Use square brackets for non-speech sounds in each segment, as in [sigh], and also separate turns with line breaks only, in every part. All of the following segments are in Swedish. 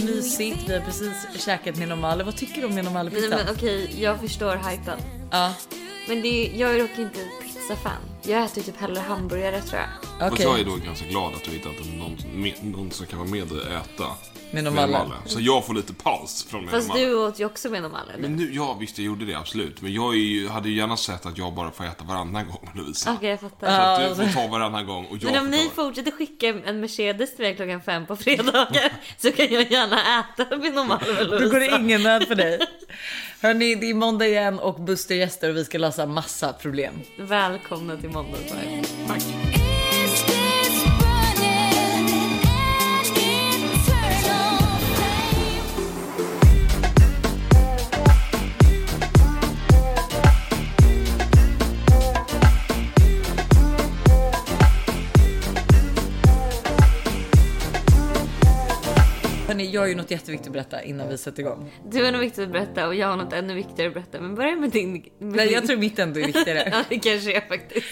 mysigt, vi har precis käkat Nino Malli. Vad tycker du om Nino
Nej
Malli-pizzan?
men okej, jag förstår hypen.
Ja,
Men det är, jag är dock inte en pizzafan. Jag äter typ hellre hamburgare tror jag.
Fast
okej.
jag är då ganska glad att du hittat någon, med- någon som kan vara med dig och äta.
Med
med
normala.
Malle. Så jag får lite paus från med
Fast
normala.
du åt ju också med dem alla eller?
Men nu, ja visst jag gjorde det absolut. Men jag är ju, hade ju gärna sett att jag bara får äta varannan gång Lovisa.
Okej jag fattar.
Så att du får ta varannan gång och jag
Ah, alltså. Men om
får
ni
ta
fortsätter skicka en Mercedes till mig klockan fem på fredagar [laughs] så kan jag gärna äta med normal
Då går det ingen nöd för dig. Hörni, det är måndag igen och Buster gäster och vi ska lösa massa problem.
Välkomna till Måndagsvibe.
Hörni, jag har ju något jätteviktigt att berätta innan vi sätter igång.
Du har något viktigt att berätta och jag har något ännu viktigare att berätta. Men börja med din. Med
Nej,
din-
jag tror mitt ändå är viktigare.
[laughs] Ja det kanske är [laughs] faktiskt.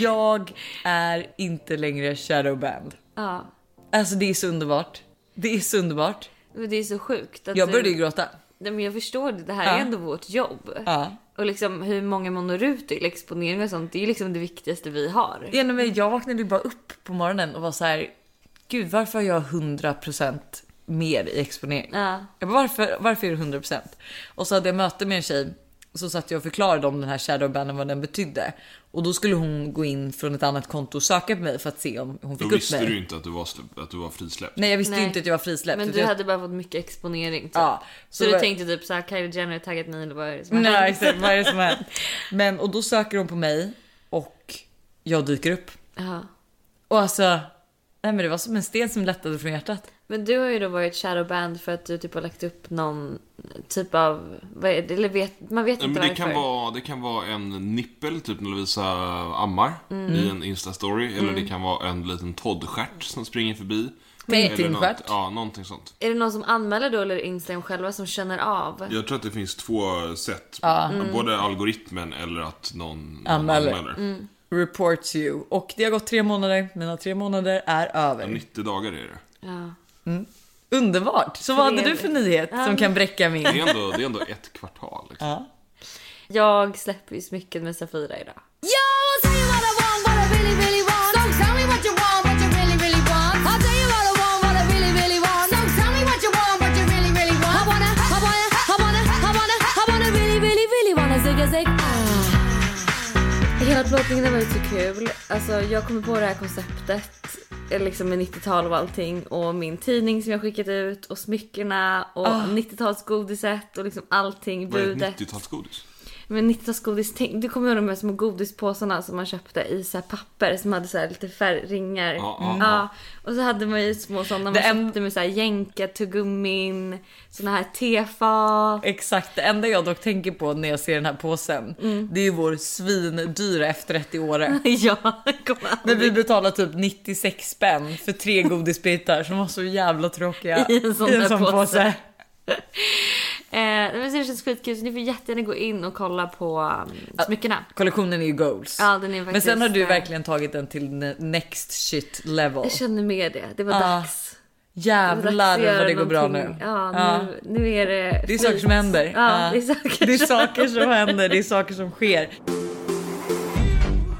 Jag är inte längre shadowband.
Ja.
Alltså det är så underbart. Det är så underbart.
Men det är så sjukt. Att
Jag började ju
du...
gråta.
Nej, men jag förstår det. Det här
Ja.
är ändå vårt jobb.
Ja.
Och liksom hur många man når ut till exponering och sånt. Det är ju liksom det viktigaste vi har.
Ja, nej, men jag vaknade ju bara upp på morgonen och var så här. Gud, varför har jag 100% mer i exponering?
Ja.
Jag bara, varför, varför är det 100%? Och så hade jag möte med en tjej så satt jag och förklarade om den här shadowbannen vad den betydde och då skulle hon gå in från ett annat konto och söka på mig för att se om hon
Då
fick upp
visste
mig.
du ju inte att du var, släpp- att du var frisläppt.
Nej, jag visste ju
Nej.
inte att jag var frisläppt.
Men
utan
du
jag...
hade bara fått mycket exponering. Typ.
Ja,
Så,
då
du
var-
tänkte typ såhär Kylie Jenner har taggat mig eller vad är det som har
Nej,
hänt?
exakt. Vad är det som har hänt? Men och då söker hon på mig och jag dyker upp
[laughs] Ja.
och alltså. Nej, men det var som en sten som lättade från hjärtat.
Men du har ju då varit shadowband för att du typ har lagt upp någon typ av, vad är det, eller vet, man vet
Nej,
inte
men det,
varför.
kan vara, det kan vara en nippel, typ när Lovisa ammar
Mm.
i en instastory. Eller det kan vara en liten toddstjärt som springer förbi.
Men-
Eller
Tintin-stjärt.
något- Ja, någonting sånt.
Är det någon som anmäler då eller är det Instagram själva som känner av?
Jag tror att det finns två sätt. Mm. Både algoritmen eller att någon, någon
Anmäler.
anmäler.
Reports you och det har gått tre månader. Mina tre månader är över.
90 dagar är det.
Ja.
Underbart! Så vad hade du för nyhet som kan bräcka
Det
min?
är ändå, det är ändå ett kvartal. Liksom.
Ja.
Jag släpper ju smycken med Safira idag. Ah. Hela plåtningen har varit så kul. Alltså jag kommer på det här konceptet eh, liksom med 90-tal och allting och min tidning som jag skickat ut och smyckena och
Ah.
90-talsgodiset och liksom allting.
Vad är ett
budet.
90-talsgodis?
Men 90-talsgodis, tänk- du kommer ihåg de här små godispåsarna som man köpte i så här papper som hade så här lite färgringar.
Ja, ja,
ja. Och så hade man ju små sådana man
Det en-
köpte med så här jänka, tuggummin, såna här tefat.
Exakt, det enda jag dock tänker på när jag ser den här påsen, det är ju vår svindyra efterrätt i Åre.
[laughs] Mm. ja, kommer
När
aldrig
vi betalar typ 96 spänn för tre godisbitar som var så jävla tråkiga
[laughs] I en sån där påse.
påse.
[laughs] Eh, nej, men så det känns skitkul så ni får jättegärna gå in och kolla på um, smyckena.
Kollektionen är ju goals.
Ja, den är faktiskt,
Men sen har du
eh,
verkligen tagit den till ne- next shit level.
Jag känner med det, det var
Ja.
dags. Det var dags att
Jävlar vad
göra
det går bra nu.
någonting. Ja,
Ja.
nu, nu är det
Det är saker som händer.
Ja,
Ja.
det är saker
det är
som
saker som händer, det är saker som sker.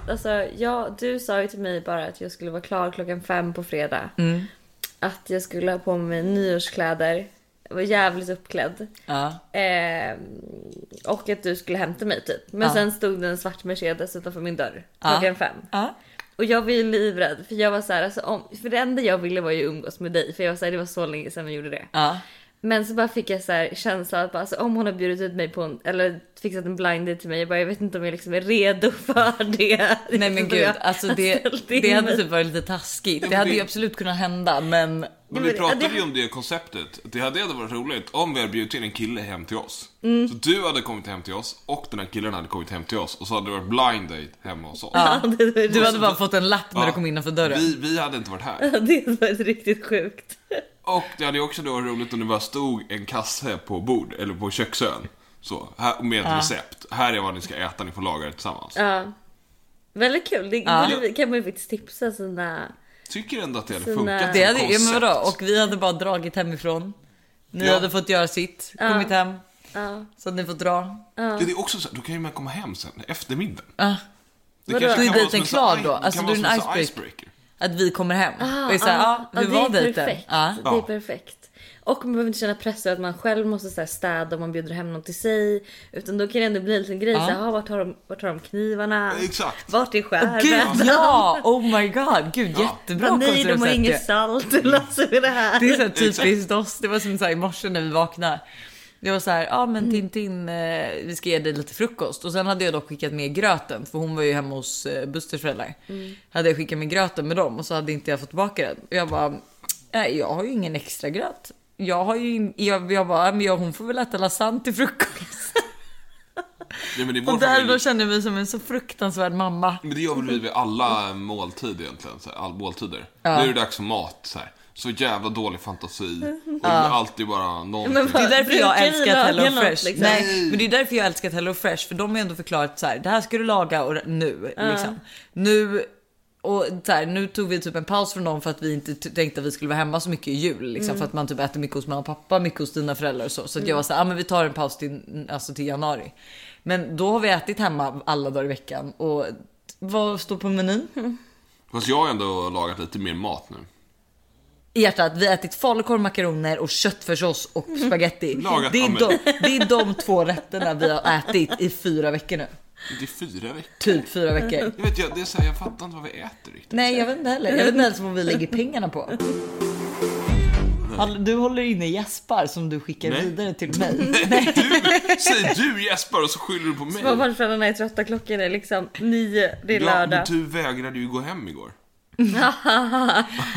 Alltså, jag, du sa ju till mig bara att jag skulle vara klar klockan fem på fredag. Att jag skulle ha på mig nyårskläder. Jag var jävligt uppklädd.
Ja.
Eh, och att du skulle hämta mig typ. Men
Ja.
sen stod det en svart Mercedes utanför min dörr
Ja.
klockan fem.
Ja.
Och jag var ju livrädd för jag var så här, alltså, om, för det enda jag ville var ju umgås med dig för jag var så här, det var så länge sedan vi gjorde det.
Ja.
Men så bara fick jag så här känslan att bara, alltså, om hon har bjudit ut mig på en, eller fixat en blind date till mig, jag bara jag vet inte om jag liksom är redo för [laughs] det.
Nej men gud, alltså det, det hade typ varit lite taskigt. Det hade ju absolut kunnat hända men
Men
men
vi
det-
pratade
det-
ju om det konceptet. Det hade ändå varit roligt om vi hade bjudit in en kille hem till oss. Så du hade kommit hem till oss och den här killen hade kommit hem till oss och så hade det varit blind date hemma hos oss.
[laughs]
du hade bara fått en lapp när du
Ja.
kom innanför dörren.
Vi, vi hade inte varit här.
Det hade varit riktigt sjukt.
Och det hade ju också då varit roligt om det bara stod en kasse på bord, eller på köksön. Så, här, med ett recept. Här är vad ni ska äta, ni får laga det tillsammans.
Ja. Väldigt kul. Det
Ja.
det kan man ju faktiskt tipsa sina...
Tycker ändå att det hade
Sina-
funkat
Det hade,
som
ja,
koncept.
men vadå? Och vi hade bara dragit hemifrån. Ni
Ja.
hade fått göra sitt, kommit hem.
Ja.
Så att ni får dra.
Ja, det är också så här, då kan ju man komma hem sen, eftermiddagen.
Ah.
Det
Vadå?
kanske
Då är
kan vara
dejten
som en sån
klar då?
i- det
Alltså,
kan
då är
vara
det en
som sån
icebreaker. Att vi kommer hem. och är så här,
ja.
ah, hur
Ja,
var
det är
dejten?
perfekt.
Ja.
Det är perfekt. Och man behöver inte känna press över att man själv måste så här städa om man bjuder hem någon till sig. Utan då kan det ändå bli en liten grej. Så här, ah, vart, har de, vart har de knivarna?
Exakt.
Vart är skärmen?
Gud ja! Oh my god, gud jättebra
[laughs] Bara, Nej, de
koncept.
har inget salt. [laughs] Hur löser vi det här? [laughs]
Det är så här typiskt oss. Det var som så här i morse när vi vaknade. Jag var så här, ja ah, men Tintin, eh, vi ska ge dig lite frukost. Och sen hade jag dock skickat med gröten, för hon var ju hemma hos eh, Busters föräldrar. Hade jag skickat med gröten med dem och så hade inte jag fått tillbaka den. Och jag bara, nej jag har ju ingen extra gröt. Jag har ju, in- jag, jag bara, men jag, hon får väl äta lasagne till frukost.
Nej, men, i vår
Och där
familj,
då kände jag mig som en så fruktansvärd mamma.
men det gör väl vi vid alla måltid egentligen, så här, all måltider. Nu är det dags för mat. Så, här. så jävla dålig fantasi. Och det är alltid bara någonting.
Men
Det
vad-
är därför
Brukar
jag
ni
älskar
laga
Hello
något,
Fresh.
liksom?
Nej, men det är därför jag älskar Hello Fresh för de har ändå förklarat så här. Det här ska du laga och nu liksom. Nu och så här, nu tog vi typ en paus från dem för att vi inte t- tänkte att vi skulle vara hemma så mycket i jul liksom
Mm.
för att man typ äter mycket hos mamma och pappa, mycket hos dina föräldrar och så. Så att jag var så här, ah, men vi tar en paus till, alltså till januari. Men då har vi ätit hemma alla dagar i veckan och vad står på menyn?
Fast jag har ändå lagat lite mer mat nu.
i hjärtat. Vi har ätit falukorv, makaroner och köttfärssås och spaghetti.
Mm. Lagat
Det
av
är,
mig.
de, det är de två rätterna vi har ätit i fyra veckor nu.
Det är fyra veckor.
Typ fyra veckor.
Jag vet, jag, det är så här, jag fattar inte vad vi äter riktigt.
Nej, jag vet inte heller. Jag vet inte ens vad vi lägger pengarna på. Hall- Du håller inne gäspar som du skickar
Nej.
vidare till mig.
Du, säger du Jesper och så skyller du på mig.
Småbarnsföräldrarna är trötta, klockan är liksom nio, det är
Ja, men typ.
lördag. [laughs]
du vägrade ju gå hem igår.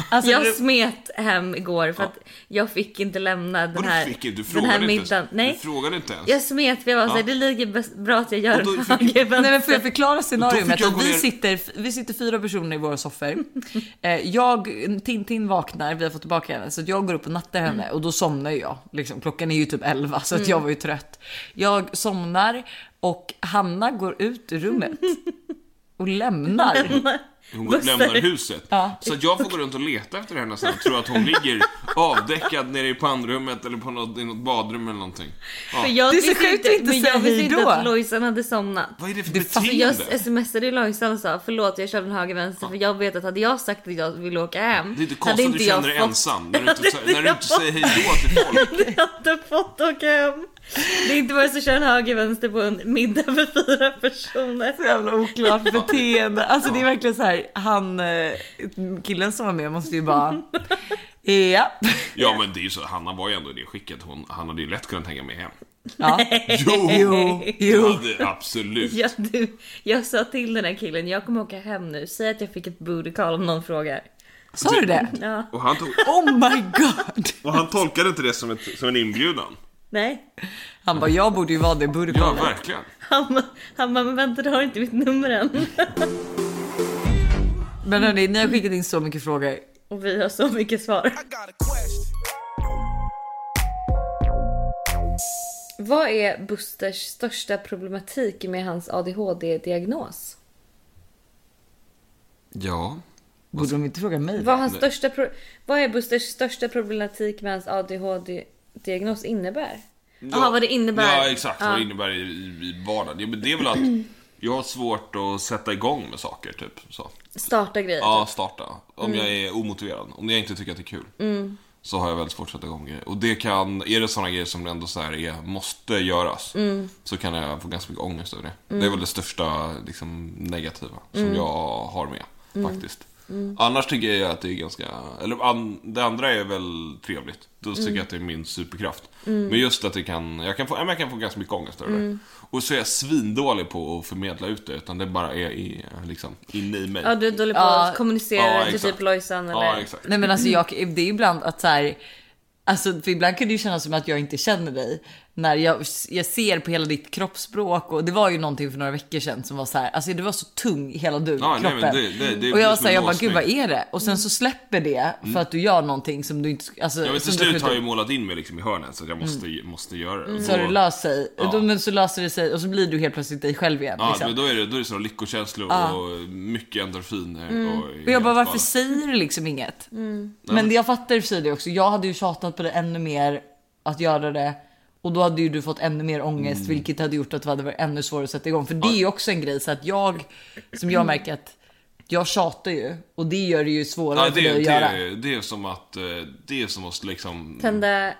Alltså,
Jag
du-
smet hem igår för att jag fick inte lämna den
Vadå
här,
fick inte? Du
den
frågade
här
inte
middagen.
ens.
Nej,
Du frågade inte ens.
jag smet för jag var såhär,
Ja.
det är lika bäst- bra att jag gör
Och då fick-
höger vänster.
Nej, men får jag förklara
Då fick
scenariot?
jag
Att
gå
vi,
ner-
sitter, vi sitter fyra personer i våra soffor. Eh, Jag, Tintin vaknar, vi har fått tillbaka henne, så att jag går upp och nattar henne och då somnar jag. Liksom, klockan är ju typ 11 så
Mm.
att jag var ju trött. Jag somnar och Hanna går ut ur rummet och lämnar.
[laughs] Hon går- lämnar huset.
Ja.
Så att jag får gå runt och leta efter henne sen och tro
[laughs]
att hon ligger avdäckad nere i pannrummet eller på något, i något badrum eller någonting. Ja.
För jag
Det är så
visste
sjukt att inte
men
säga
jag visste
hej
inte
då.
att Lojsan hade somnat.
Vad är det för
Alltså jag
beteende?
smsade ju Lojsan och sa förlåt jag körde en höger vänster för jag vet att hade jag sagt att jag ville åka hem
Det är inte
hade
konstigt att du
jag
känner dig
fått-
ensam när
[laughs]
du inte,
hade
sä- när du
jag
inte
fått-
säger hejdå till
[laughs]
folk.
Jag hade inte fått åka hem. Det är inte bara så att köra en höger vänster på en middag för fyra personer.
Så jävla oklart beteende. Alltså det är verkligen så här, han eh, killen som var med måste ju bara.
[laughs]
Ja,
Ja men det är ju så, Hanna var ju ändå i det skicket. Hon, han hade ju lätt kunnat hänga med
[laughs]
hem.
ja.
Jo!
Jo,
Det
jo.
hade- absolut.
Jag, du, jag sa till den här killen, jag kommer åka hem nu, säg att jag fick ett booty call om någon frågar.
Sa du det?
Ja,
Och han, tog,
Oh my god.
och han tolkade inte det som, ett, som en inbjudan.
nej.
Han bara, jag borde ju vara det i
Ja,
burkhollet.
verkligen.
Han, bara- han bara, men vänta du har inte mitt nummer än.
Men hörni, ni har skickat in så mycket frågor.
Och vi har så mycket svar.
I got a question.
Vad är Busters största problematik med hans ADHD-diagnos?
Ja.
Borde de inte fråga mig?
Vad, hans största pro- vad är Busters största problematik med hans ADHD-diagnos innebär? Jaha, vad det innebär.
Ja, exakt. Vad det innebär i, i, i vardagen. Jo, men det är väl att jag har svårt att sätta igång med saker, typ. Så.
Starta grejer. typ. Mm.
Ja, starta. Om jag är omotiverad. Om jag inte tycker att det är kul. Så har jag väldigt svårt att sätta igång grejer. Och det kan, är det sådana grejer som ändå så här är, måste göras.
Mm.
Så kan jag få ganska mycket ångest över det. Det är väl det största liksom, negativa som
Mm.
jag har med. Faktiskt. Annars tycker jag att det är ganska, eller an, det andra är väl trevligt. Då
Mm.
tycker jag att det är min superkraft. Men just att det kan, jag kan få, ja, men jag kan få ganska mycket ångest över
Mm.
det. Och så är jag svindålig på att förmedla ut det. Utan det bara är i, liksom, inne i mig.
Ja, du är dålig på
Ja.
att kommunicera
Ja,
till
exakt.
typ Lojsan eller...
Ja, exakt.
Nej men alltså jag, det är ibland att så här. Alltså för ibland kan det ju kännas som att jag inte känner dig. När jag, jag ser på hela ditt kroppsspråk och det var ju någonting för några veckor sedan som var så här. Alltså du var så tung hela du
Ja, nej,
kroppen.
men det- det- det
och jag var
blir som
så här, jag
en
bara gud vad
låsning. Mm.
är det? Och sen så släpper det för att du gör någonting som du inte sk- alltså,
Ja,
som
men till
du
slut
skjuter
har jag ju målat in mig liksom i hörnet så att jag måste, måste göra det. Och
Mm. Så har
då-
det löst sig.
Ja.
Då, men så löser det sig och så blir du helt plötsligt dig själv igen.
Ja,
liksom.
men då är det, då är det sådana lyckokänslor och mycket endorfiner. Och,
Och Mm. jag bara varför
galet.
säger du liksom inget? Men jag fattar i och för sig det också. Jag hade ju tjatat på det ännu mer att göra det. Och då hade ju du fått ännu mer ångest,
Mm.
vilket hade gjort att det hade varit ännu svårare att sätta igång. För det är ju också en grej så att jag, som jag märker att jag tjatar ju och det gör det ju svårare
Ja,
för
det,
dig
det,
att göra.
det, det är som att, eh, det är som att liksom...
Tända Mm.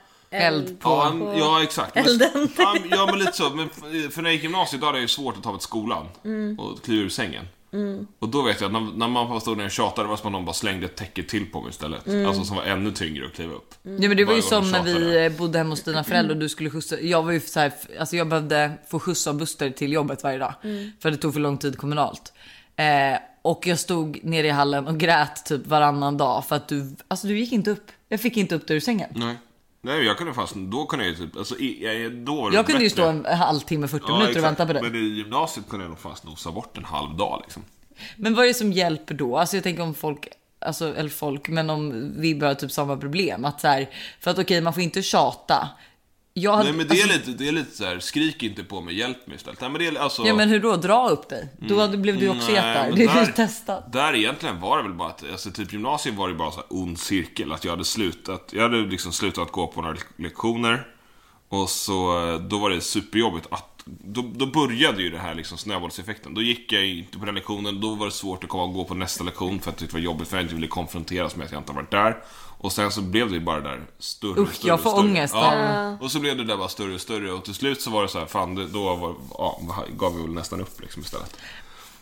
eld,
Eld på-
Ja, men- ja exakt. Men,
elden.
[laughs] ja, men- ja men lite så. Men f- för när jag gick i gymnasiet då hade jag ju svårt att ta mig till skolan
Mm.
och kliva ur sängen. Och då vet jag att när, när mamma stod där och tjatade det var som att någon bara slängde ett täcke till på mig istället.
Mm.
Alltså som var ännu tyngre att kliva upp.
Ja, men det var ju
Varje gång
som
de
när vi
tjatade.
eh, bodde hemma hos dina föräldrar och du skulle skjutsa. Jag var ju så här, alltså jag behövde få skjuts av Buster till jobbet varje dag för det tog för lång tid kommunalt. Eh, och jag stod nere i hallen och grät typ varannan dag för att du, alltså du gick inte upp. Jag fick inte upp dig ur sängen.
Nej. Nej, jag kunde fast, då kunde jag ju typ, alltså i, jag, då var det
Jag kunde ju
bättre.
stå en halvtimme, 40
Ja,
minuter och
exakt.
vänta på dig.
Men i gymnasiet kunde jag nog fast nosa bort en halv dag liksom.
Men vad är det som hjälper då? Alltså jag tänker om folk, alltså, eller folk, men om vi börjar typ samma problem. Att så här, för att okej, man får inte tjata. Jag hade,
Nej men det är
alltså,
lite, det är lite så här, skrik inte på mig, hjälp mig istället. Nej men det är alltså...
Ja men hur då? Dra upp dig. Då hade- blev du också
Mm. Nej,
jättar.
men
Du är ju
där-
testat.
Där egentligen var det väl bara att, alltså typ gymnasiet var det bara så här ond cirkel. Att jag hade slutat, jag hade liksom slutat gå på några lektioner. Och så, eh, då var det superjobbigt att, då, då började ju det här liksom snöbollseffekten. Då gick jag inte på den lektionen, då var det svårt att komma och gå på nästa lektion för att det var jobbigt för jag inte ville konfronteras med att jag inte har varit där. Och sen så blev det ju bara det där större och
Usch,
större.
jag
och
får
större.
ångest
Ja. Och så blev det där bara större och större och till slut så var det så här, fan det, då var, ja, gav vi väl nästan upp liksom istället.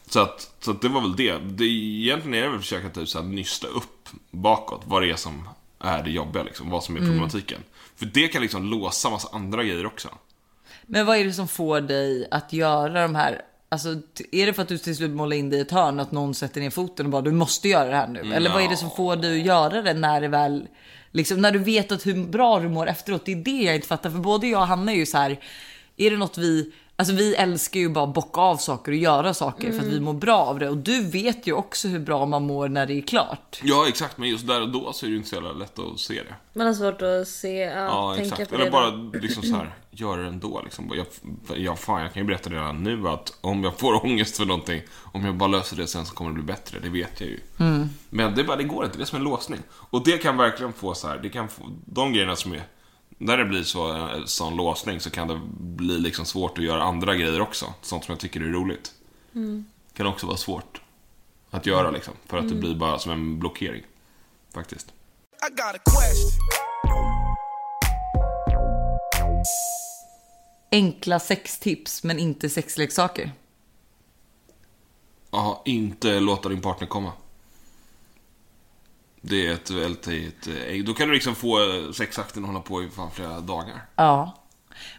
Så att, så att det var väl det. det. Egentligen är det väl att försöka typ så här nysta upp bakåt vad det är som är det jobbiga liksom, vad som är problematiken. För det kan liksom låsa massa andra grejer också.
Men vad är det som får dig att göra de här? Alltså, t- är det för att du till slut målar in dig i ett hörn? Att någon sätter ner foten och bara du måste göra det här nu? Eller vad är det som får dig att göra det när det väl... Liksom, när du vet att hur bra du mår efteråt. Det är det jag inte fattar. För både jag och Hanna är ju så här. Är det något vi... Alltså vi älskar ju bara att bocka av saker och göra saker för att vi mår bra av det. Och du vet ju också hur bra man mår när det är klart.
Ja, exakt. Men just där och då så är det ju inte så jävla lätt att se det.
Man har svårt att se, ja,
Ja,
tänka
exakt.
på det.
Eller bara
[clears throat]
liksom så här, gör det ändå liksom. Jag, ja, fan, jag kan ju berätta redan nu att om jag får [laughs] ångest för någonting, om jag bara löser det sen så kommer det bli bättre. Det vet jag ju. Men det, är bara, det går inte, det är som en låsning. Och det kan verkligen få så här, det kan få, de grejerna som är, när det blir så, en sån låsning så kan det bli liksom svårt att göra andra grejer också. Sånt som jag tycker är roligt.
Mm.
Kan också vara svårt att göra liksom. För att det blir bara som en blockering. Faktiskt.
I got a question.
Enkla sextips men inte sexleksaker.
Ja, inte låta din partner komma. Det är ett väldigt... eh, Då kan du liksom få eh, sexakten hålla på i fan flera dagar.
Ja.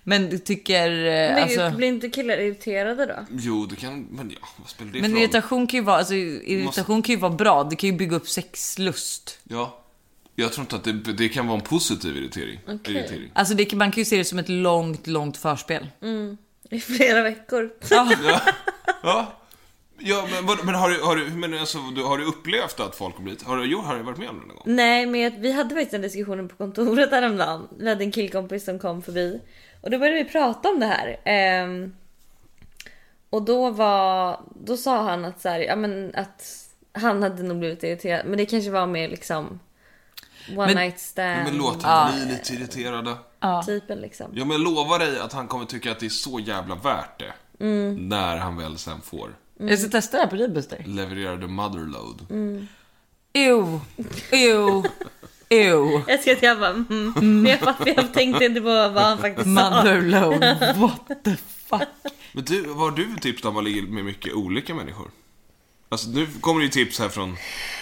Men du tycker... eh,
Men
alltså...
blir inte killar irriterade då?
Jo, det kan... Men ja, vad spelar det
Men
för roll?
irritation kan ju vara, alltså, irritation kan ju vara bra. Det kan ju bygga upp sexlust.
Ja. Jag tror inte att det, det kan vara en positiv irritering.
[laughs]
Okej.
irritering.
Alltså det kan, man kan ju se det som ett långt, långt förspel.
Mm. I flera veckor.
Ja. Ja, men, vad- men, har, du, har, du, men alltså, du, har du upplevt att folk har blivit... Har du, jo, har du varit med om det någon gång?
[laughs] Nej, men jag- vi hade faktiskt den diskussionen på kontoret häromdagen. Vi hade en killkompis som kom förbi och då började vi prata om det här. Ehm, och då var, då sa han att så här, ja men att han hade nog blivit irriterad, men det kanske var mer liksom one
Men-
night stand
Men låt dem bli lite irriterade.
typen liksom.
Ja, men jag lovar dig att han kommer tycka att det är så jävla värt det.
Mm.
När han väl sen får
Mm.
Jag ska testa det här på dig Buster.
levererade motherload.
Ew, ew, ew.
Jag ska att jag bara, mm, men jag, fatt, jag tänkte inte på vad han faktiskt sa.
Motherload, what the fuck.
Men du, vad har du för tips där man ligger med mycket olika människor? Alltså nu kommer det ju tips här från...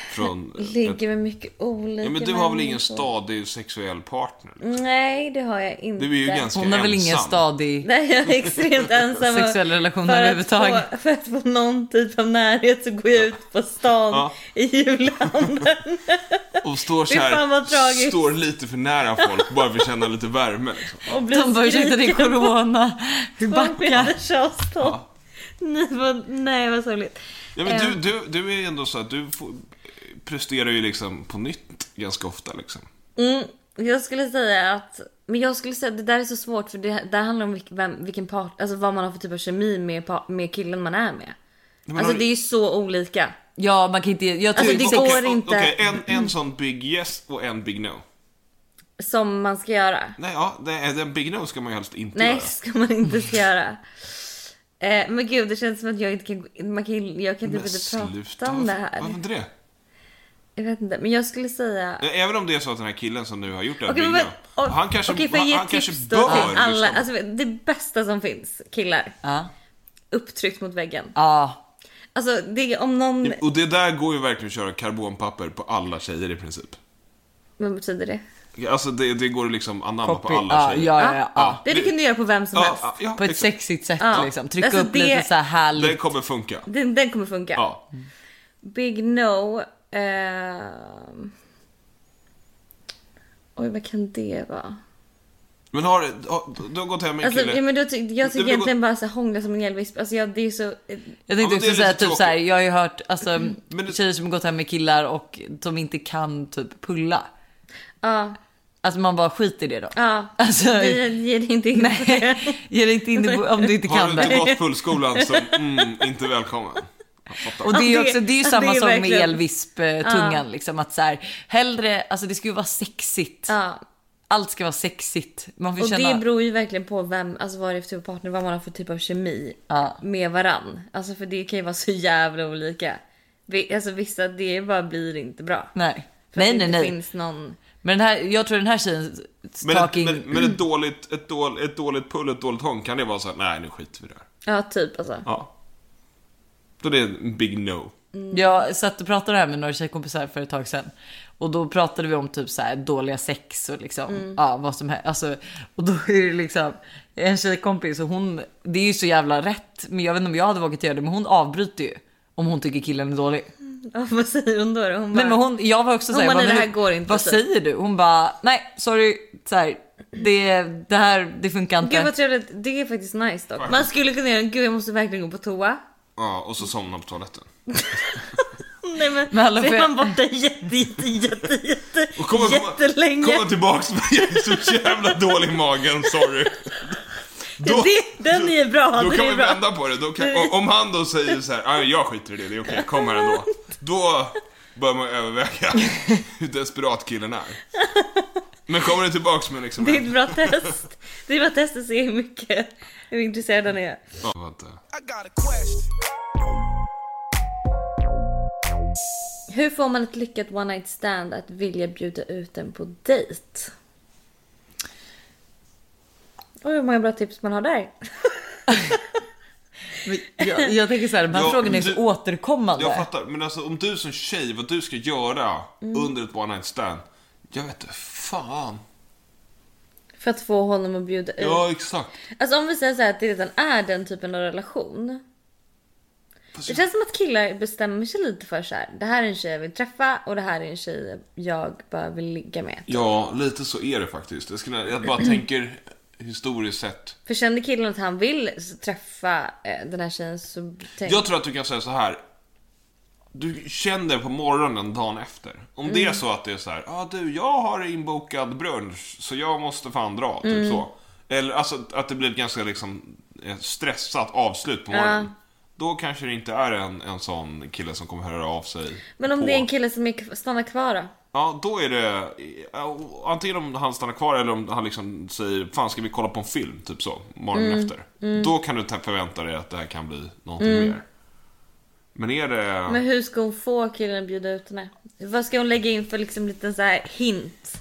[laughs]
från
Ligger med mycket olika
ja, men du har väl ingen
människor.
stadig sexuell partner?
[laughs]
Liksom?
Nej, det har jag inte.
Du är ju ganska
Hon har väl ingen
ensam.
stadig...
Nej, jag är extremt ensam.
[laughs]
och-
Sexuella relationer
för att
överhuvudtaget.
få- För att få någon typ av närhet så går jag ut på stan
Ja.
i
[laughs]
julhandeln.
Och står
Fy
så
fan,
här,
vad tragiskt.
står lite för nära folk bara för att känna lite värme. Liksom.
Och blir
De bara ursäkta det är
skriken
corona. Vi
på
backar.
meters avstånd. Nej, vad, nej, vad sorgligt.
Ja, men
Eh.
du, du, du är ju ändå så att du får, presterar ju liksom på nytt ganska ofta liksom.
Mm, jag skulle säga att... Men jag skulle säga att det där är så svårt för det där handlar om vilken, vem, vilken part, alltså vad man har för typ av kemi med, pa- med killen man är med. alltså
har-
det är ju så olika.
Ja, man kan inte... Jag tror
Alltså,
inte
det går
sex...
Okej,
inte.
Okej, en, en sån big yes och en big no.
Som man ska göra.
Nej, ja, det är, den Big No ska man ju helst inte
Nej,
göra.
ska man inte ska göra. Eh, men gud, det känns som att jag inte kan... gå in- Man kan jag kan typ
Men
inte prata
sluta,
om det
varför-
här.
Varför inte det?
Jag vet inte, men jag skulle säga...
Eh, Även om det är så att den här killen som nu har gjort det här
Okej, men
Big
vad-
No, han kanske,
okej, får jag
han,
ge
han
tips
kanske
då
bör liksom.
till alla?
lyssna på-
Alltså, det bästa som finns, killar.
Ja.
Upptryckt mot väggen.
Ja.
Alltså, det, är- om någon...
Och det där går ju verkligen att köra karbonpapper på alla tjejer i princip.
Vad betyder det?
Alltså det, det går liksom anamma
Copy.
på alla
Ja,
tjejer.
ja, ja, ja.
Ja,
Det, det kan du göra på vem som helst.
ja, ja,
På ett
exakt.
sexigt sätt
Ja.
liksom. Trycka
Alltså,
upp
det-
lite så här
Det
härligt.
kommer funka.
Den, den kommer funka.
Ja.
Big no. ehm. Oj, vad kan det vara?
Men har, har du har gått hem med en
Alltså,
kille?
ja, men då, ty- jag
vill
tycker egentligen bara så här, hångla som en elvisp. Alltså, jag, det är så...
Jag
Ja,
tänkte
men det
också
är
säga
lite
typ så här.
tråkigt. Mm,
Jag har ju hört alltså,
det-
tjejer som har gått hem med killar och som inte kan typ pulla.
Ja,
Alltså man bara skit i det då.
ja.
Alltså,
Vi ger inte in på det.
[laughs] nej, ge dig inte in i, bo- om
[laughs]
du inte
har
kan
du inte
det.
gått fullskolan så, mm, inte välkommen. Jag fattar.
Och det är ju
Ja, det-
också, det är ju
ja,
samma
det är
som med
verkligen-
elvisptungan liksom att så här hellre, alltså det ska ju vara sexigt.
Ja.
Allt ska vara sexigt. Man får
Och
känna.
det beror ju verkligen på vem, alltså vad det är för typ av partner, vad man har för typ av kemi
Ja.
med varann. Alltså för det kan ju vara så jävla olika. Vi- Alltså vissa, det bara blir inte bra.
Nej,
För
nej,
att det
nej,
inte
nej.
finns någon...
Men den här, jag tror den här tjejen
Men, ett,
talking,
men, men ett, dåligt, ett, dåligt, ett dåligt pull, ett dåligt hång, kan det vara så här, nej nu skiter vi i det här.
Ja, typ alltså.
Ja. Då det är en big no.
jag satt och pratade här med några tjejkompisar för ett tag sedan. Och då pratade vi om typ så här dåliga sex och liksom,
Mm.
ja vad som helst. Alltså, och då är det liksom en tjejkompis och hon, det är ju så jävla rätt. Men jag vet inte om jag hade vågat göra det, men hon avbryter ju. Om hon tycker killen är dålig.
Ja, vad säger hon då? då? Hon bara,
Nej, men hon, jag var också
Hon
såhär,
bara,
jag
"Nej, det
men
här går inte",
vad
typ.
säger du? Hon bara, nej sorry, så här, det, det här det funkar inte.
Gud vad trevligt, det är faktiskt nice dock. Man skulle kunna göra, gud jag måste verkligen gå på toa.
Ja, och så somnar man på toaletten.
Nej men,
Men alla
så
får-
är man borta jätte, jätte, jätte, jätte,
Och kommer-
jättelänge.
Komma tillbaks med jag är så jävla dålig i magen, sorry. Då,
det, den är bra,
då
den
kan
är
vi
bra.
vända på det. Då kan, och om han då säger så här, "Ah, jag skiter i det, det är okej, kom här ändå. Då bör man överväga hur desperat killen är. Men kommer det tillbaks med liksom
Det är
en-
ett bra test. Det är ett bra test att se hur mycket, hur intresserad han är.
Ja, vänta.
I got a question.
Hur får man ett lyckat one night stand att vilja bjuda ut den på dejt? Oj, hur många bra tips man har där.
Jag, jag tänker såhär, de här
Ja,
frågorna är
men
så
du-
återkommande.
Jag fattar, men alltså om du som tjej, vad du ska göra under ett one night stand. Jag vet inte, fan.
För att få honom att bjuda ut.
Ja, exakt.
Alltså om vi säger så här att det redan är den typen av relation.
Fast
Det
jag-
känns som att killar bestämmer sig lite för så här. Det här är en tjej jag vill träffa och det här är en tjej jag bara vill ligga med.
Ja, lite så är det faktiskt. Jag, skulle, jag bara tänker historiskt sett.
För kände killen att han vill s- träffa eh, den här tjejen så tänk...
Jag tror att du kan säga så här. Du känner på morgonen dagen efter. Om det
Mm.
är så att det är så här, ja ah, du, jag har inbokad brunch så jag måste fan dra, typ
Mm.
så. Eller alltså att det blir ett ganska liksom eh, stressat avslut på morgonen. Då kanske det inte är en, en sån kille som kommer höra av sig.
Men om
på-
det är en kille som är, kv- stannar kvar då?
Ja, då är det ja, antingen om han stannar kvar eller om han liksom säger Fan ska vi kolla på en film? Typ så, morgonen
Mm,
efter. Då kan du ta- förvänta dig att det här kan bli någonting mer. Men är det...
Men hur ska hon få killen att bjuda ut henne? Vad ska hon lägga in för liksom liten så här hint?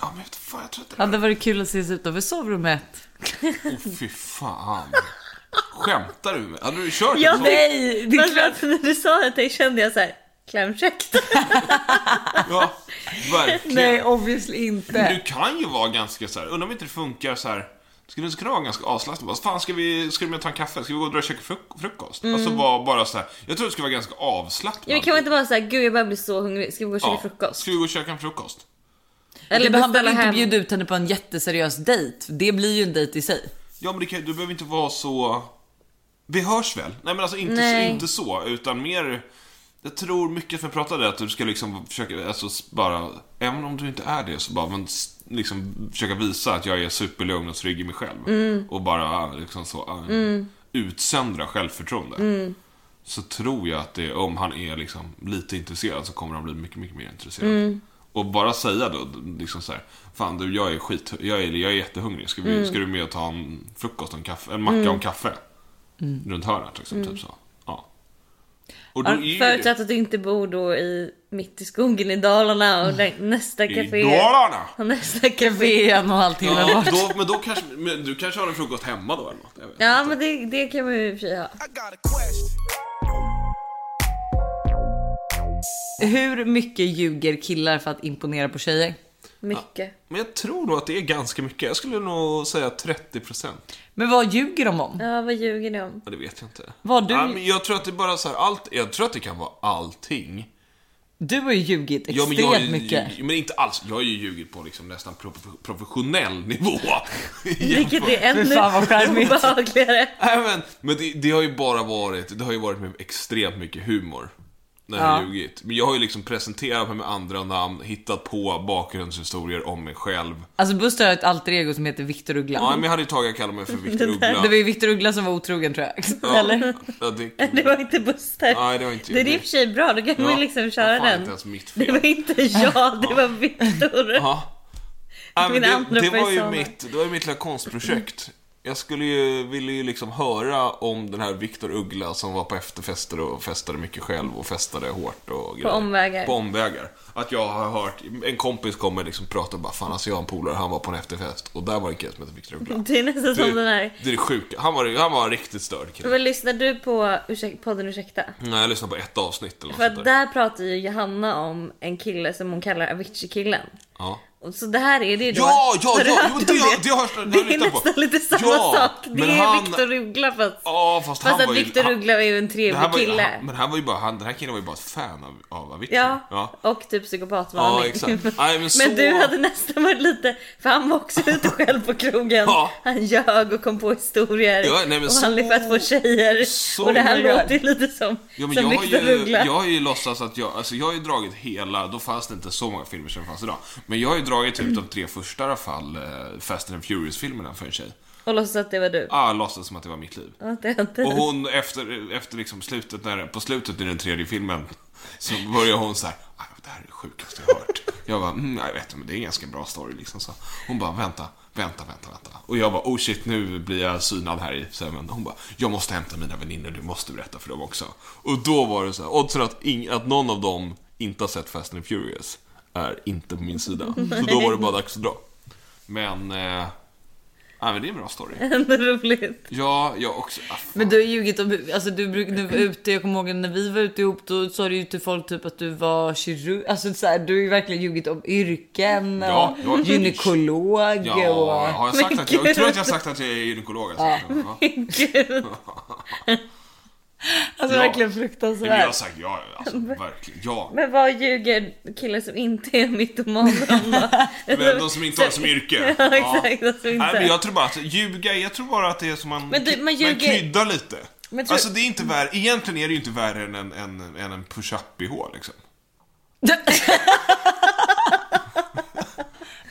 Ja, men jag vet fan, jag tror att det
Ja,
är...
det var kul att ses utanför sovrummet.
Åh, fy fan. Skämtar du med mig? Hade du kört en
Jag
sån?
[laughs] nej!
det är
Fast att när du sa det till- kände jag så här.
[laughs]
Klämkäckt.
Ja, verkligen.
Nej, obviously
Men
inte.
du kan ju vara ganska så här. undrar om inte det funkar så här. Skulle du inte kunna vara ganska avslappnad? Bara, Fan, ska vi, ska du med ta en kaffe? Ska vi gå och dra och käka fruk- frukost? Alltså bara, bara så här. Jag tror du ska vara ganska avslappnad.
Mm. Ja, men kan man inte bara säga gud jag börjar bli så hungrig, ska vi gå och käka frukost?
Ska vi gå och käka en frukost?
Eller han
beställa
behöver inte bjuda ut henne på en jätteseriös dejt. Det blir ju en dejt i [laughs] sig.
Ja, men det kan, du behöver inte vara så... Vi hörs väl? Nej, men alltså inte,
Nej.
inte så, utan mer... Jag tror mycket som jag pratade att du ska liksom försöka, alltså s- bara, även om du inte är det, så bara, men s- liksom försöka visa att jag är superlugn och trygg i mig själv.
Mm.
Och bara liksom så, äh, utsöndra självförtroende.
Mm. Mm.
Så tror jag att det, om han är liksom lite intresserad så kommer han bli mycket, mycket mer intresserad. Och bara säga då, liksom så här, Fan du, jag är skit, jag är, jag är jättehungrig. Ska, vi,
Mm.
ska du med och ta en frukost och en, kaffe, en macka och en kaffe? Runt hörnet liksom, typ så. Ja. Och då är ju-
Förutsatt Mm. att du inte bor då i mitt i skogen i Dalarna och där- nästa
Mm. I
café.
Dalarna!
Och nästa café.
VM och allt himla
Ja,
bort.
då, men då kanske, men du kanske har en frukost hemma då eller något? Jag vet.
Ja men det, det kan man ju i och för sig ha.
I got a question.
Hur mycket ljuger killar för att imponera på tjejer?
Mycket.
Men jag tror nog att det är ganska mycket. Jag skulle nog säga 30%.
Men vad ljuger de om?
Ja vad ljuger ni om?
Ja, det vet jag inte.
Vad du-
ja, men jag tror att det bara så här, allt, jag tror att det kan vara allting.
Du har ju ljugit
Ja, men
extremt
jag har ju-
mycket.
Men inte alls. Jag har ju ljugit på liksom nästan pro- professionell nivå.
Vilket är ännu
Fy fan, vad charmigt.
obehagligare.
Nej, men men det, det har ju bara varit, det har ju varit med extremt mycket humor. När jag har
Ja.
ljugit. Men jag har ju liksom presenterat mig med andra namn, hittat på bakgrundshistorier om mig själv.
Alltså Buster har ett alter ego som heter Viktor Uggla.
Ja, men jag hade ju tagit att kalla mig för Viktor
Det var
Uggla.
ju Viktor Uggla som var otrogen tror jag. [laughs]
Ja,
Eller?
Ja, det,
[laughs] Det var inte Buster.
Nej, det var inte
Det är
jag.
i och för sig bra, då kan man ju liksom köra
Vad fan, Inte
den.
ens mitt fel.
Det var inte jag, det var Viktor.
Ja. Ja, men
Mina
det,
andra
det, var ju
personer.
mitt, det var ju mitt lilla konstprojekt. Jag skulle ju, ville ju liksom höra om den här Viktor Uggla som var på efterfester och festade mycket själv och festade hårt och grejer.
omvägar.
På omvägar. Att jag har hört, en kompis kommer liksom prata och bara fan alltså jag har en polare, han var på en efterfest och där var en kille som hette Viktor Uggla.
Det är nästan
Typ.
som den här.
Det är det sjuka, han var, han var en riktigt störd kille.
Men lyssnar du på ursäk, podden Ursäkta?
Nej, jag lyssnade på ett avsnitt eller något
För
sånt
att
där.
där pratar ju Johanna om en kille som hon kallar Avicii-killen.
Ja.
Och Så det här är det ju då.
Ja, ja,
Har du
ja,
hört
jo,
om
det har- det har jag- det har jag
Det är
lyssnat på.
nästan lite samma
Ja,
sak. Det
men
är
han-
Viktor Uggla fast.
Ja, fast,
fast
han
att
var ju...
Viktor
han-
Uggla är ju en
det här
trevlig
var ju,
kille.
han, men han var ju bara, han, den här killen var ju bara ett fan av, av Avicii.
Ja, och typ psykopatvarning. [laughs]
Ja, exakt. Nej, men så-
men du hade nästan varit lite, för han var också ute själv på krogen.
Ja.
Han ljög och kom på historier.
Ja, nej, men
och
så-
han lyckades få tjejer.
så
och det här
gör.
låter ju lite som,
Ja, men
som
jag, har
Viktor
ju,
Uggla.
jag har ju låtsats att jag, alltså jag har ju dragit hela, då fanns det inte så många filmer som fanns idag. Men jag har ju dragit typ de tre första i alla fall, eh, Fast and Furious-filmerna för en tjej.
Och låtsas att det var du.
Ah, låtsas som att det var mitt liv.
Att det inte
Och hon efter, efter liksom slutet, när, på slutet i den tredje filmen, så börjar hon så här. "Ah, Det här är det sjukaste jag har hört. Jag bara, mm, jag vet inte, men det är en ganska bra story liksom. Så hon bara, vänta, vänta, vänta, vänta. Och jag bara, oh shit, nu blir jag synad här i sömnen. Hon bara, jag måste hämta mina vänner du måste berätta för dem också. Och då var det så här, oddsen att, ing- att någon av dem inte har sett Fast and Furious är inte på min sida. Så då var det bara dags att dra. Men, eh, ja, men det är en bra story.
[laughs] Ändå roligt.
Ja, jag också. Ah, fan.
Men du har ljugit om, alltså du brukar, när vi var ute, jag kommer ihåg när vi var ute ihop, då sa du ju till folk typ att du var kirurg, alltså så här, du har ju verkligen ljugit om yrken och
Ja, jag-
gynekolog
Ja,
och...
har jag, sagt att,
Men
jag tror
gud.
att jag har sagt att jag är gynekolog. Alltså. Ja. Ja.
Gud.
Alltså
ja.
verkligen
Men jag har
fruktansvärt.
sagt ja,
[laughs]
alltså, verkligen. Ja.
Men vad ljuger killar som inte är mytomaner
[laughs]
om då?
Men de som inte har det som yrke.
[laughs] Ja, exakt, de som inte-
Nej, men jag tror bara att ljuga, jag tror bara att det är som man,
Men du, man
man
ljuger-
kryddar lite.
Men tror-
Alltså det är inte värre, egentligen är det ju inte värre än en, en, än en push-up-bh liksom.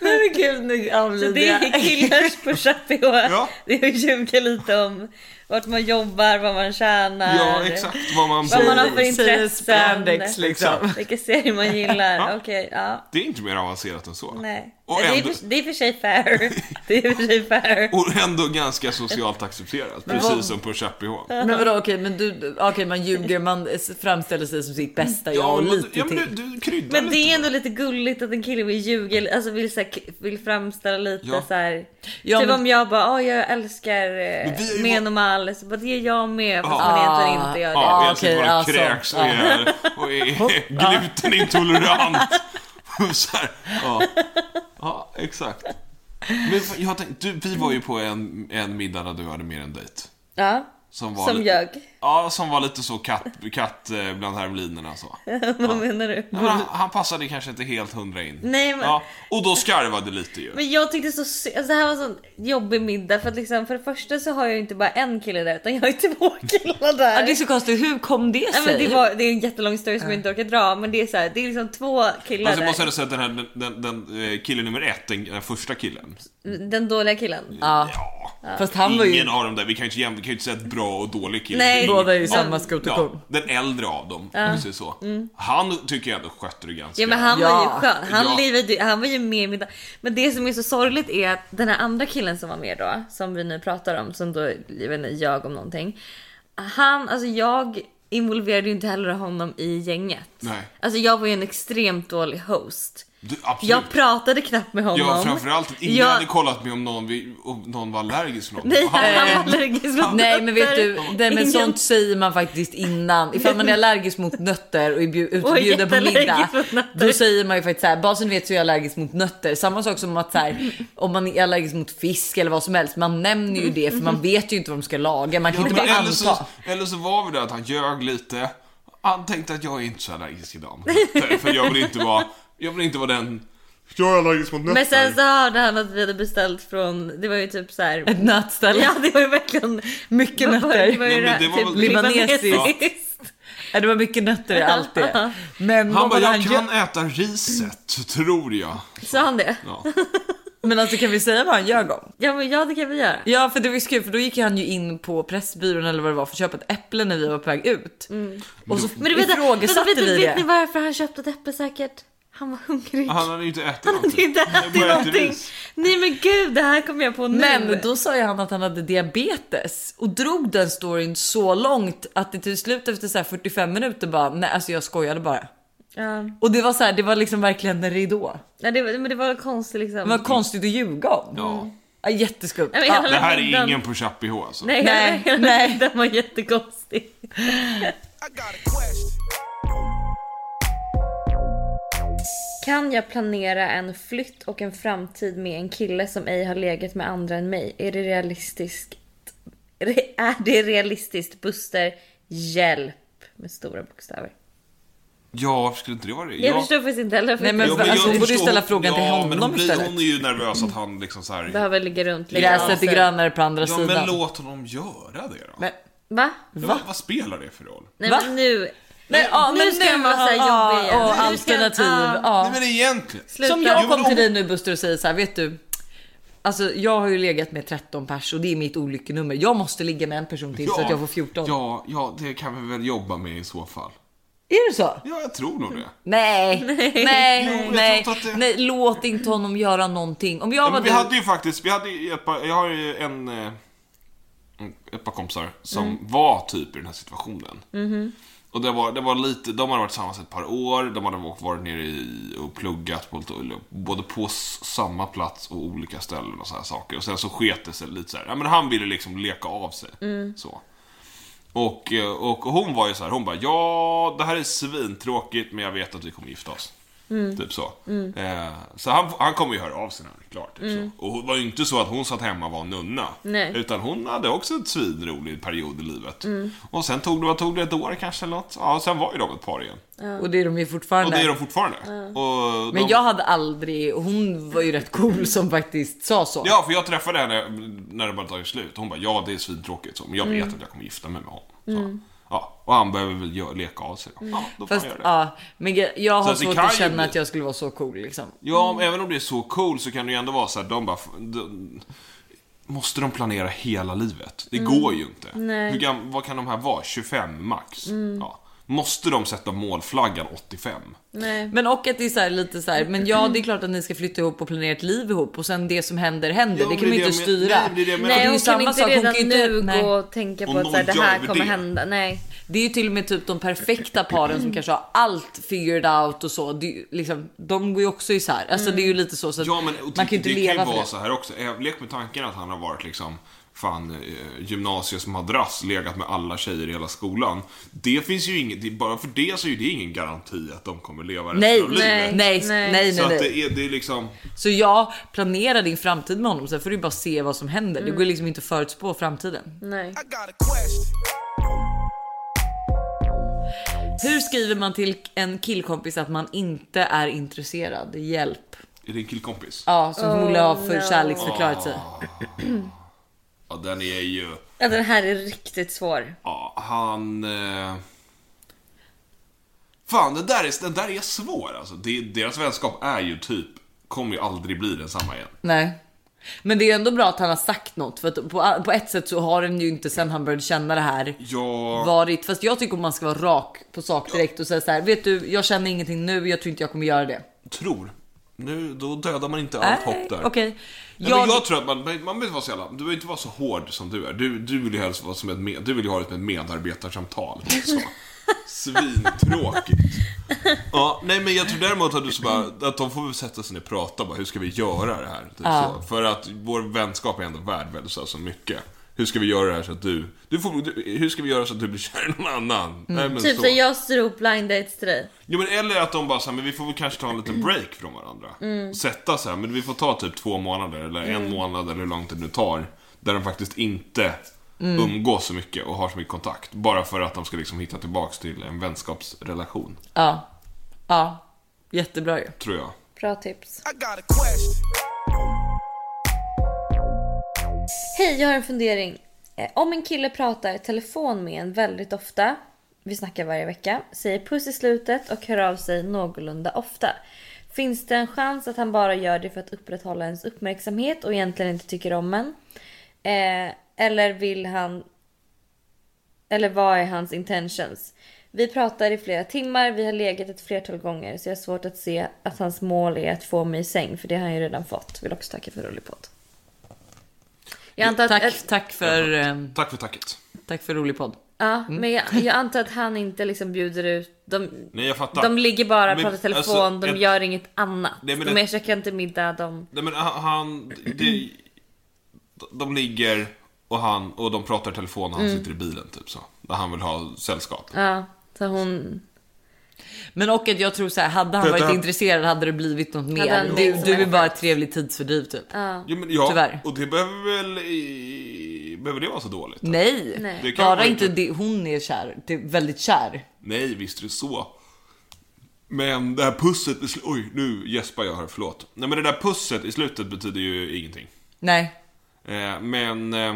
Nej men gud, nu
Så det
avlider
är
jag. [laughs]
killars
[laughs]
push-up i år.
Ja.
Det är att ljuga lite om vart man jobbar, vad man tjänar.
Ja, exakt vad man
Vad man har för
blir.
Säger
intressen.
spandex liksom.
Vilka serier man
[laughs]
gillar. Okej, ja.
Det är inte mer avancerat än så.
Nej.
Och
det, är
ändå-
för, det är för sig fair.
[laughs]
Det är för sig fair.
Och ändå ganska socialt accepterat, precis som push-up-bh.
Men vadå okej, men du, okej man ljuger, man framställer sig som sitt bästa jag och
men du-
lite
ja, men
till.
du, du kryddar
Men
lite.
det är ändå lite gulligt att en kille vill ljuga, eller- alltså vill, så här, vill framställa lite
Ja.
så här.
Ja,
typ
men-
om jag bara, "Ah, jag älskar
Men vi är
eh,
ju
men och mall, så bara, det gör jag med fast
Ja.
man egentligen inte gör det.
Ah,
Ja, egentligen
okej,
bara
alltså.
kräks och
Ja.
är, och är glutenintolerant. [laughs] så här, ja. ja, exakt. Men fan, jag tänkte, du, vi var ju på en, en middag när du hade med en dejt.
Ja.
Som, var
Som
lite,
jag. [laughs]
Ja, som var lite så katt, katt eh, bland hermelinerna så.
Vad menar du?
Men han, han passade kanske inte helt hundra in.
Nej, men-
ja, och då skarvade lite ju.
Men jag tyckte så sy- alltså, det här var en sån jobbig middag för att liksom för det första så har jag ju inte bara en kille där utan jag har ju två [laughs] killar där.
Ja, det är så konstigt, hur kom det sig?
Nej, men det, var, det är en jättelång historia som jag inte orkar dra men det är så här, det är liksom två killar
Alltså,
Fast Alltså, jag
där.
måste ändå säga att den här den, den, den eh, killen nummer ett, den, den första killen.
Den dåliga killen.
Ja.
Ja,
Fast han var ju...
Ingen av dem där, vi kan ju inte, jäm- vi kan ju inte säga att bra och dålig kille.
Nej.
Båda är ju
Ja.
samma skoterkung.
Ja, den äldre av dem, om vi säger så. Han tycker jag ändå skötte det ganska...
Mm. Ja men han
Ja.
var ju skön. Han,
Ja.
livade, ju- han var ju med i middag. Men det som är så sorgligt är att den här andra killen som var med då, som vi nu pratar om, som då jag vet inte, ljög om någonting. Han, alltså jag involverade ju inte heller honom i gänget.
Nej.
Alltså jag var ju en extremt dålig host.
Du, absolut.
Jag pratade knappt med honom.
Ja, framförallt att ingen
Jag-
hade kollat med om någon, vi- om någon var allergisk mot
[laughs]
något.
Nej,
Han-
han var allergisk
[laughs]
mot
Nej men vet du,
nötter.
det, men
Ingen-
sånt säger man faktiskt innan. Ifall man är allergisk mot nötter och är bju- utbjuden på
jätteallergisk
middag.
mot nötter.
Då säger man ju faktiskt såhär, bara så ni vet så är jag allergisk mot nötter. Samma sak som att såhär, om man är allergisk mot fisk eller vad som helst. Man nämner ju det för man vet ju inte vad de ska laga. Man kan
Ja,
inte
men
bara
eller, så,
anta.
eller så var vi där att han ljög lite. Han tänkte att jag är inte så
[laughs]
allergisk idag. För- För jag vill inte vara, jag vill inte vara den... Jag är allergisk mot nötter.
Men sen så hörde han att vi hade beställt från, det var ju typ så här.
[laughs] Ett nötställe.
Ja det var ju verkligen
Mycket
Det var
nötter.
ju
Nej, men
det-
det var
typ
väl-
Libanesiskt.
libanesiskt.
Ja, det var mycket nötter i allt det. Men
han
vad var
bara,
det
jag
han
kan
gör?
äta riset, tror jag.
Sa han det?
Ja.
Men alltså kan vi säga vad han ljög om?
[laughs] Ja men ja det kan vi göra.
Ja för det var ju så kul för då gick han ju in på Pressbyrån eller vad det var för att köpa ett äpple när vi var på väg ut. Och så
Mm. Men du vet,
ifrågasatte
vet,
vi
vet, vet ni
det.
varför han köpte ett äpple säkert? Han var hungrig.
Han hade ju inte
[laughs]
ätit
han hade
någonting.
inte
Jag
ätit
bara äter
någonting.
ris.
Nej men gud det här kom jag på nu.
Men då sa ju han att han hade diabetes och drog den storyn så långt att det till slut efter så här 45 minuter bara nej alltså jag skojade bara.
Ja.
Och det var så här, det var liksom verkligen en ridå.
Nej, det, var- men det var konstigt liksom.
Det var konstigt att ljuga om.
Ja.
Ja, jätteskumt.
Nej, men
Ja.
jag-
Det här är
Den-
ingen push up i alltså.
Nej, [laughs]
Nej,
nej,
nej.
nej. den var jättekonstig.
I got a question.
Kan jag planera en flytt och en framtid med en kille som ej har legat med andra än mig? Är det realistiskt? Re- Är det realistiskt? Buster, hjälp! Med stora bokstäver.
Ja, varför skulle inte det vara det?
Jag
Ja.
förstår faktiskt inte heller. För
Nej, men
jag
Ja, men
alltså,
jag
hon borde ju
förstår-
ställa frågan till
ja, men
honom
hon blir,
istället.
Hon är ju nervös att han liksom så här...
behöver ligga runt lite.
Gräset är
Ja.
grönare på andra
Ja, men
sidan.
låt honom göra det då.
Men,
Va?
Ja,
va?
Vad spelar det för roll?
Nej
Va?
men nu.
Nej, ja,
nu
men
ska han vara så här
ja,
jobbig igen.
ja,
Nu ska han-
alternativ.
ja.
ja.
Nej, men egentligen.
Sluta.
Som jag
Jo,
kom
men
till
om-
dig nu Buster och säger så här, vet du? Alltså jag har ju legat med 13 pers och det är mitt olyckenummer. Jag måste ligga med en person till så att jag får 14.
Ja, ja, det kan vi väl jobba med i så fall.
Är det så?
Ja, jag tror
Mm.
nog det.
Nej, nej,
Jo,
nej,
jag
nej,
tror inte att det-
Låt inte honom göra någonting. Om jag
Ja,
var
men vi
du.
hade ju faktiskt, vi hade ju ett par, jag har ju en, eh, ett par kompisar som var typ i den här situationen. Och det var, det var lite, de hade varit tillsammans ett par år, de hade varit nere i och pluggat på lite, både på s- samma plats och olika ställen och så här saker. Och sen så sket det sig lite så här. Ja, men han ville liksom leka av sig. Så. Och, eh, och hon var ju så här, hon bara ja, det här är svintråkigt men jag vet att vi kommer gifta oss.
Mm.
Typ så. Eh, så han, han kommer ju höra av sig när han är klar. Typ
Mm.
så. Och det var ju inte så att hon satt hemma och var nunna.
Nej.
Utan hon hade också en svinrolig period i livet.
Mm.
Och sen tog det, vad tog det ett år kanske eller något? Ja, sen var ju de ett par igen.
Och det är de ju
Och
fortfarande.
det är de fortfarande. Och
Men
de,
jag hade aldrig, hon var ju rätt cool som faktiskt sa så.
Ja, för jag träffade henne när det bara tagit slut. Hon bara, ja det är svintråkigt så, men jag vet
Mm.
att jag kommer gifta mig med honom. Så. Ja, och han behöver väl gö- leka av sig. Ja, då får
Fast
han göra det.
ja, men jag- jag har
att det
svårt
kan
att
ju
känna
bli-
att jag skulle vara så cool liksom.
Ja, men även om det är så cool så kan det ju ändå vara så här, de bara... De, måste de planera hela livet? Det
Mm.
går ju inte.
Nej.
Hur gam, vad kan de här vara? 25 max?
Mm.
Ja. Måste de sätta målflaggan 85?
Nej.
Men och att det är så här, lite så här, men ja det är klart att ni ska flytta ihop och planera ett liv ihop och sen det som händer händer.
Ja,
det
men
kan man
det
ju
är
inte
det jag men-
styra.
nej, det är det jag menar.
Det är
Nej,
ju
hon kan
samma
inte
sak, hon
redan
kan ju inte-
nu
nej.
gå och tänka på
Om
att så här,
någon
det här
gör
kommer
det.
hända. Nej.
Det är ju till och med typ de perfekta paren som kanske har allt figured out och så. Det är ju, liksom, de går ju också isär. Alltså det är ju
Mm.
lite så, så att
Ja, men och
man kan ju
det
inte
kan ju
leva
vara
för det.
så här också. Jag lek med tanken att han har varit liksom fan eh, gymnasiets madrass, legat med alla tjejer i hela skolan. Det finns ju inget, det- bara för det så är ju det ingen garanti att de kommer leva resten
Nej,
av livet.
nej, nej, nej,
Nej.
nej.
Så att
nej.
det är, det är liksom...
Så jag planerar din framtid med honom. Sen får du ju bara se vad som händer.
Mm.
Det går ju liksom inte att förutspå framtiden.
Nej.
I got a question.
Hur skriver man till en killkompis att man inte är intresserad? Hjälp.
Är det en killkompis?
Ja, som förmodligen har för
Oh, no.
kärleksförklarat sig.
Ja, den är ju...
Ja, den här är riktigt svår.
Ja, han... Eh... Fan, den där är, den där är svår alltså. Det, deras vänskap är ju typ... Kommer ju aldrig bli densamma igen.
Nej. Men det är ju ändå bra att han har sagt något för att på, på ett sätt så har den ju inte sen han började känna det här
Ja,
varit. Fast jag tycker man ska vara rak på sak direkt och säga så här. Vet du, jag känner ingenting nu. Jag tror inte jag kommer göra det.
tror. Nu, då dödar man inte
Nej,
allt hopp
Eh,
där.
Okej.
Nej,
Jag-
men jag tror att man, man behöver inte vara så jävla, du behöver inte vara så hård som du är. Du, du vill ju helst vara som ett, med, du vill ju ha ett medarbetarsamtal. Så. Svintråkigt. Ja, nej men jag tror däremot att du så bara, att de får väl sätta sig ner och prata bara, hur ska vi göra det här? Typ så. För att vår vänskap är ändå värd väldigt så, här så mycket. Hur ska vi göra det här så att du, du får, du, hur ska vi göra så att du blir kär i någon annan? Nej, men
Typ
så.
som jag styr upp blind dates till dig.
Jo, men eller att de bara så här, men vi får väl kanske ta en liten break från varandra. Sätta så här, men vi får ta typ två månader eller en månad eller hur lång tid det nu tar. Där de faktiskt inte umgås så mycket och har så mycket kontakt. Bara för att de ska liksom hitta tillbaks till en vänskapsrelation,
Ja. Ja. Jättebra ju.
tror jag.
Bra tips.
I got a quest.
Hej, jag har en fundering. Eh, Om en kille pratar i telefon med en väldigt ofta, vi snackar varje vecka, säger puss i slutet och hör av sig någorlunda ofta. Finns det en chans att han bara gör det för att upprätthålla ens uppmärksamhet och egentligen inte tycker om en? Eh, eller vill han... Eller vad är hans intentions? Vi pratar i flera timmar, vi har legat ett flertal gånger så jag har svårt att se att hans mål är att få mig i säng för det har han ju redan fått. Vill också tacka för rolig podd. Jag antar att
Tack,
ett-
tack för, eh,
Tack för tacket.
tack för rolig podd.
Ja,
Mm.
men jag, jag antar att han inte liksom bjuder ut... De,
Nej, jag fattar.
de ligger bara och
Men,
pratar telefon,
alltså,
de
ett-
gör inget annat.
Nej, men
de
det-
käkar inte middag, de...
Nej, men han- han, det, de ligger och han, och de pratar i telefon och han sitter i bilen typ så. Där han vill ha sällskap.
Ja, så hon...
Men och att jag tror så här, hade han
För att
varit
han-
intresserad hade det blivit något
han
mer. Du,
blivit som
du är
en-
bara ett trevligt tidsfördriv typ.
Jo, men, ja,
Tyvärr.
Och det behöver väl, i- behöver det vara så dåligt?
Nej,
Nej.
Det kan
bara
vara
inte
inte-
det, hon är kär, det är väldigt kär.
Nej, visst är det så. Men det här pusset i slutet... Oj, nu gäspar jag här, förlåt. Nej, men det där pusset i slutet betyder ju ingenting.
Nej,
Eh, men... Eh,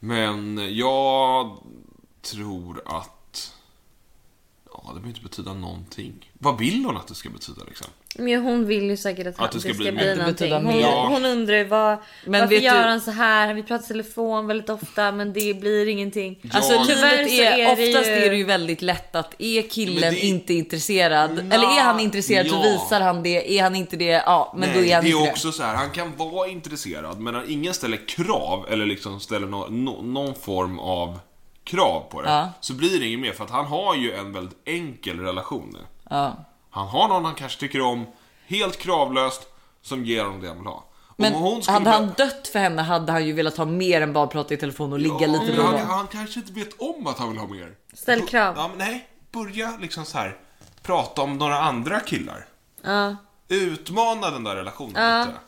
men jag tror att... Ja, det behöver inte betyda någonting. Vad vill hon att det ska betyda liksom?
Men hon vill ju säkert att, han,
det ska bli mer.
bli
Att
någonting.
det
betyder
Hon,
mer.
Ja.
hon undrar ju vad,
Men
varför
vet
gör
du-
han så här? Vi pratar i telefon väldigt ofta men det blir ingenting.
alltså
Ja.
livet
Tyvärr så
är,
är det
oftast
ju-
är det ju väldigt lätt att är killen
Men det-
inte intresserad
Nja,
eller är han intresserad så
ja.
visar han det. Är han inte det, ja men då är han
det
inte
är också så här, han kan vara intresserad men han- ingen ställer krav eller liksom ställer nå- nå- någon form av krav på det.
Ja.
Så blir det inget mer för att han har ju en väldigt enkel relation nu.
det. Ja.
Han har någon han kanske tycker om, helt kravlöst, som ger honom det han vill ha. Om
Men
skulle
hade
börja-
han dött för henne hade han ju velat ha mer än bara prata i telefon och ligga
Ja,
lite
men
då och
han,
då.
han kanske inte vet om att han vill ha mer.
Ställ
Bu-
krav.
Ja, men nej, börja liksom så här prata om några andra killar.
Ja.
Utmana den där relationen lite.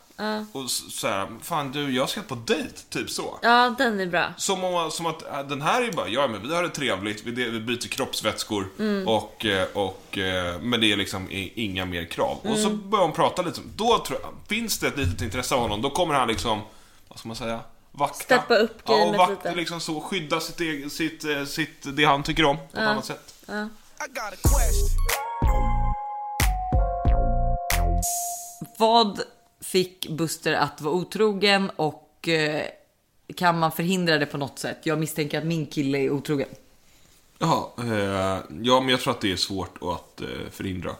Och s- så här, fan du, jag ska på dejt, typ så.
ja, den är bra.
Som, om, som att äh, den här är ju bara, ja men vi har det trevligt, vi, det- vi byter kroppsvätskor
Mm.
och, eh, och, eh, men det är liksom i- inga mer krav. Och så
Mm.
börjar hon prata lite, då tror jag, finns det ett litet intresse av honom, då kommer han liksom, vad ska man säga, vakta.
Steppa upp
ja, och
gamet
vakta,
lite.
liksom så, skydda sitt, eget- sitt, eh, sitt, det han tycker om på ett annat sätt.
I got a quest.
Vad fick Buster att vara otrogen och eh, kan man förhindra det på något sätt? Jag misstänker att min kille är otrogen.
Jaha, eh, ja men jag tror att det är svårt att eh, förhindra.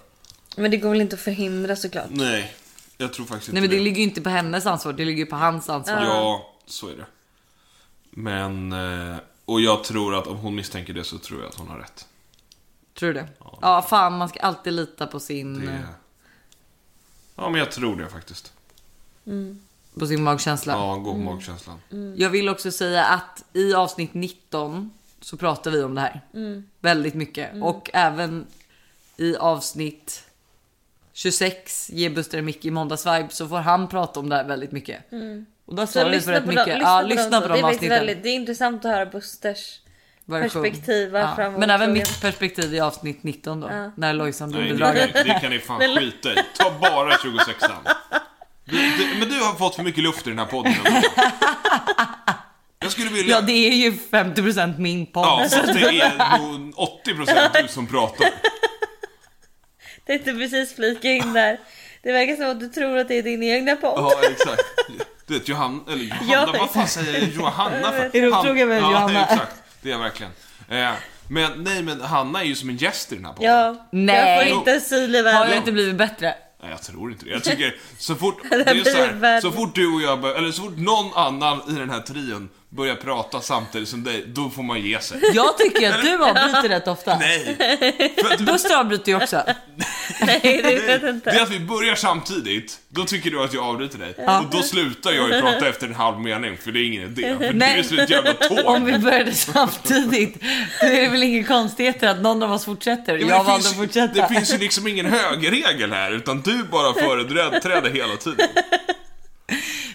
Men det går väl inte att förhindra såklart.
Nej, jag tror faktiskt inte
Nej men det ligger ju inte på hennes ansvar, det ligger ju på hans ansvar.
Ja, så är det. Men... eh, Och jag tror att om hon misstänker det så tror jag att hon har rätt.
Tror du det? Ja fan man ska alltid lita på sin,
Det... Ja, men jag tror det faktiskt.
på sin magkänsla.
Ja, gå på
Mm.
magkänslan.
Mm.
Jag vill också säga att i avsnitt 19 så pratar vi om det här.
Mm.
Väldigt mycket. Och även i avsnitt 26, Ge Buster en mick i måndagsvibe, så får han prata om det här väldigt mycket. Och där
Mm. Så
svarar vi för
lyssna
rätt
på,
mycket.
dem,
ja,
på
lyssna
dem
på de
så. det, är faktiskt
avsnitten.
väldigt, det är intressant att höra Busters
Version.
perspektiv.
Ja.
varför han var
Men även
otrogen.
mitt perspektiv i avsnitt 19 då. När Lojsan
Nej,
blev
det
bedragen.
kan, det kan ni fan skita i. Ta bara 26an. Du, du, men du har fått för mycket luft i den här podden. Jag skulle vilja...
Ja det är ju 50% min podd.
Ja, fast det är nog 80% du som pratar.
Tänkte precis flika in där. Det verkar som att du tror att det är din egna podd.
Ja, exakt. Du vet, Johanna, eller Johanna, vad fan
exakt.
säger jag? Johanna för?
Är du otrogen med
ja,
Johanna?
exakt. Det är jag verkligen. Eh, men nej, men Hanna är ju som en gäst i den här podden.
Ja.
Nej.
Jag får inte asyl i
Har jag
världen.
inte blivit bättre?
Nej, jag tror inte det. Jag tycker
[laughs]
så fort, det
här
är så,
blir
här,
värd-
så fort du och jag, bör, eller så fort någon annan i den här trion börjar prata samtidigt som dig, då får man
[laughs]
ge sig.
Jag tycker att du avbryter rätt ofta.
Nej! För att,
Buster avbryter ju också.
Nej, det vet jag
det är
inte.
att vi börjar samtidigt, då tycker du att jag avbryter dig. Och då slutar jag ju prata efter en halv mening, för det är ingen idé. För
Nej.
du är som ett jävla tåg.
Om vi började samtidigt, då är det väl ingen konstighet att någon av oss fortsätter.
Ja, men
jag
det,
valde att
finns,
fortsätta.
det finns ju liksom ingen högerregel här, utan du bara företräder hela tiden.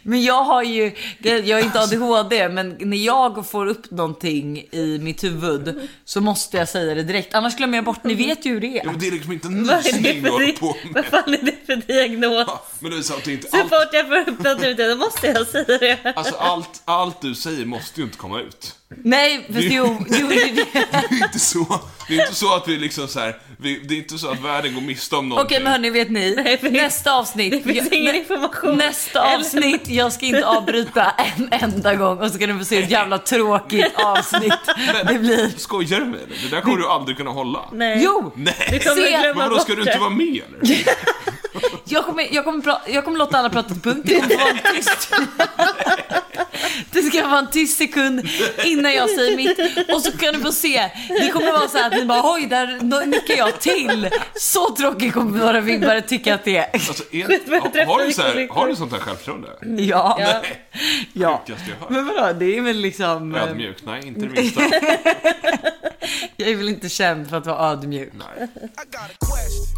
Men jag har ju, jag är inte ADHD, men när jag får upp någonting i mitt huvud så måste jag säga det direkt. Annars glömmer jag bort, ni vet ju hur det
Ja, men
är.
det är liksom inte en
Vad är det
nysning du
för,
håller
di-
på
vad
med.
fan är det för diagnos?
Ja, Men det är så att det är inte
Så
allt
fort jag får upp något ute, då måste jag säga det.
Alltså allt, allt du säger måste ju inte komma ut.
Nej, fast jo, jo, jo.
Det är inte så, det är inte så att vi liksom så här, vi, det är inte så att världen går miste om någonting.
[laughs] Okej men hörni, vet ni?
Nej, för-
Nästa avsnitt.
Det finns
jag-
ingen
nä-
information.
Nästa avsnitt, jag ska inte avbryta en enda gång och så ska ni få se hur jävla tråkigt avsnitt det blir.
Skojar du med mig? Det där kommer du aldrig kunna hålla.
Nej.
Jo!
Du
Nej.
kommer
Se,
glömma
Men då ska
bort
du inte
det.
vara med
[laughs]
eller?
Jag kommer, jag kommer, pra- jag kommer låta alla prata till punkt. Det kommer vara en tyst. Det ska vara en tyst sekund innan jag säger mitt. Och så kan ni få se. Det kommer vara så här att ni bara oj, där no- nickar jag till. Så tråkigt kommer våra vibbare tycka att det är.
Alltså, är, har, du så här, har du sånt här självförtroende?
Ja.
Ja.
ja.
Sjukaste jag hört.
Men vadå, det är väl liksom... eh,
Ödmjuk? Nej, inte det
[laughs]
minsta.
Jag är väl inte känd för att vara ödmjuk.
Nej.
I got a question.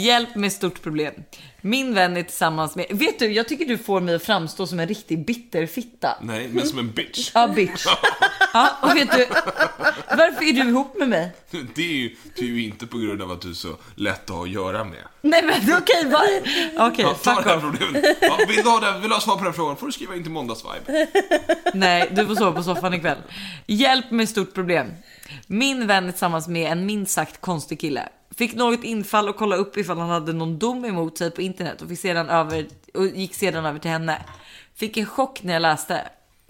Hjälp med stort problem. Min vän är tillsammans med... Vet du, jag tycker du får mig att framstå som en riktig bitterfitta.
Nej, men som en bitch.
Ja, bitch. Ja, och vet du, varför är du ihop med mig?
[laughs] Det är ju, det är ju inte på grund av att du är så lätt att ha att göra med.
Nej men okej, vad... Okej,
Ja, ta
fuck
det här
off.
problemet. Ja, vill, du ha det, vill du ha svar på den här frågan får du skriva in till måndagsvibe.
Nej, du får sova på soffan ikväll. Hjälp med stort problem. Min vän är tillsammans med en minst sagt konstig kille. Fick något infall och kollade upp ifall han hade någon dom emot sig på internet och, fick sedan över, och gick sedan över till henne. Fick en chock när jag läste.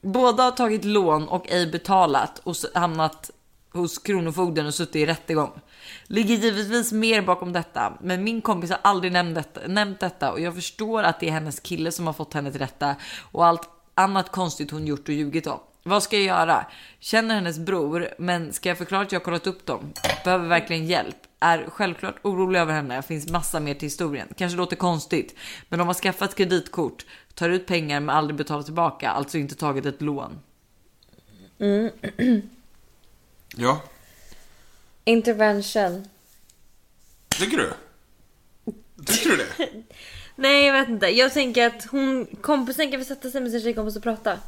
Båda har tagit lån och ej betalat och s- hamnat hos Kronofogden och suttit i rättegång. Ligger givetvis mer bakom detta, men min kompis har aldrig nämnt detta, nämnt detta och jag förstår att det är hennes kille som har fått henne till rätta och allt annat konstigt hon gjort och ljugit om. Vad ska jag göra? Känner hennes bror, men ska jag förklara att jag har kollat upp dem? Behöver verkligen hjälp. Är självklart orolig över henne. Finns massa mer till historien. Kanske låter konstigt, men de har skaffat kreditkort, tar ut pengar men aldrig betalat tillbaka, alltså inte tagit ett lån.
Ja,
Intervention.
tycker du? Tycker du det?
Nej, jag vet inte. Jag tänker att hon, kompisen kan väl sätta sig med sin tjejkompis och prata.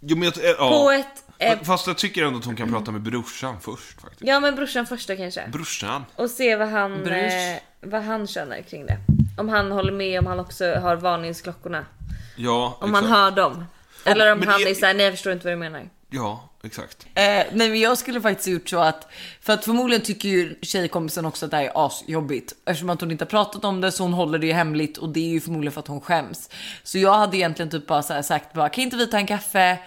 Jo, men jag, ja.
På ett... Eh,
Fa- Fast jag tycker ändå att hon kan prata med brorsan först faktiskt.
ja, men brorsan först då kanske.
Brorsan?
Och se vad han,
Brus.
eh, vad han känner kring det. Om han håller med, om han också har varningsklockorna.
Ja,
Om
exakt.
han hör dem. Eller om
men
han
det-
är såhär, nej jag förstår inte vad du menar.
Ja, exakt.
Eh, nej men jag skulle faktiskt ha gjort så att, för att förmodligen tycker ju tjejkompisen också att det här är asjobbigt. Eftersom att hon inte har pratat om det så hon håller det ju hemligt och det är ju förmodligen för att hon skäms. Så jag hade egentligen typ bara så här sagt bara, kan inte vi ta en kaffe?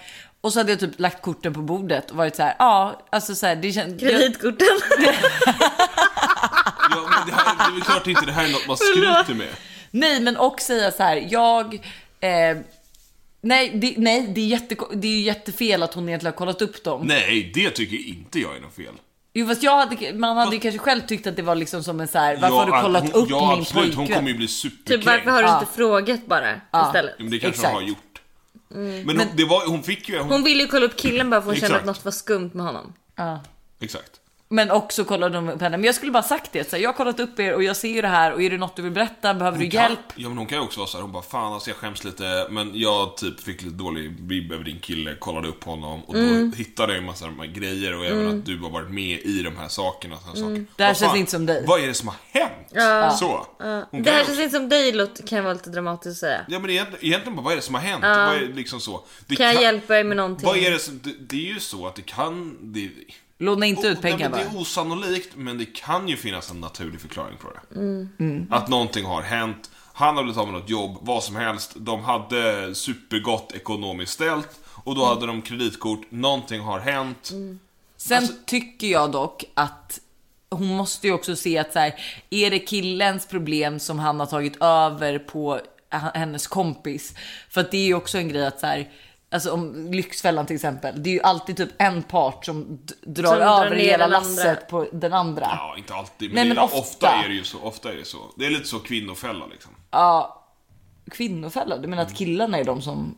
Och så hade jag typ lagt korten på bordet och varit så här, ja alltså så här, det känns...
Kreditkorten. [laughs]
Ja, men det, här, det är väl klart inte det här är något man
Förlåt.
skryter med.
Nej, men och säga så här. Jag. Eh, nej, det, nej det, är jätte, det är ju jättefel att hon egentligen har kollat upp dem.
Nej, det tycker inte jag är något fel.
Jo, fast jag hade, man hade ju kanske själv tyckt att det var liksom som en så här. Varför
ja,
har du kollat
hon,
upp
Ja,
min
absolut.
pojkvän?
Hon kommer ju bli
typ
superkränkt.
varför har du
Ja.
inte frågat bara
Ja.
istället?
Ja, Men det kanske hon har
Exakt. Mm.
gjort. Men, hon, det var, hon fick ju... Hon,
Hon ville ju kolla upp killen bara för hon kände att
Exakt.
något var skumt med honom.
Ja.
Exakt.
Men också kollade de upp henne. Men jag skulle bara sagt det. Så här, jag har kollat upp er och jag ser ju det här och är det något du vill berätta? Behöver du
Hon kan-
hjälp?
Ja, men hon kan ju också vara så här, hon bara fan alltså jag skäms lite men jag typ fick lite dålig vibb över din kille, kollade upp honom och
Mm.
då hittade jag en massa de här grejer och även att du har varit med i de här sakerna. och såna här saker.
Mm. Det här
Vad
känns
fan,
inte som dig.
Vad är det som har hänt? Så. Hon
Det här
kan ju
känns
också,
inte som dig Lot, kan vara lite dramatiskt att säga.
ja men egent- egentligen bara, vad är det som har hänt? Vad är liksom så? Det
Kan jag hjälpa dig med någonting?
Vad är det som, det, det är ju så att det kan, det,
Låna inte ut
Och- nej,
pengar
men
bara.
Det är osannolikt, men det kan ju finnas en naturlig förklaring på det.
Mm.
Att någonting har hänt, han har blivit av med något jobb, vad som helst. De hade supergott ekonomiskt ställt och
Mm.
då hade de kreditkort, någonting har hänt.
Sen
Alltså-
tycker jag dock att hon måste ju också se att så här, är det killens problem som han har tagit över på h- hennes kompis? För att det är ju också en grej att så här, alltså om Lyxfällan till exempel, det är ju alltid typ en part som d- drar
Som drar
över
ner
hela
den andra.
lasset på den andra.
Ja, inte alltid, men,
Nej,
det är-
men ofta.
ofta. är det ju så. Ofta är det så. Det är lite så kvinnofälla liksom.
Kvinnofälla, du menar att killarna är de som...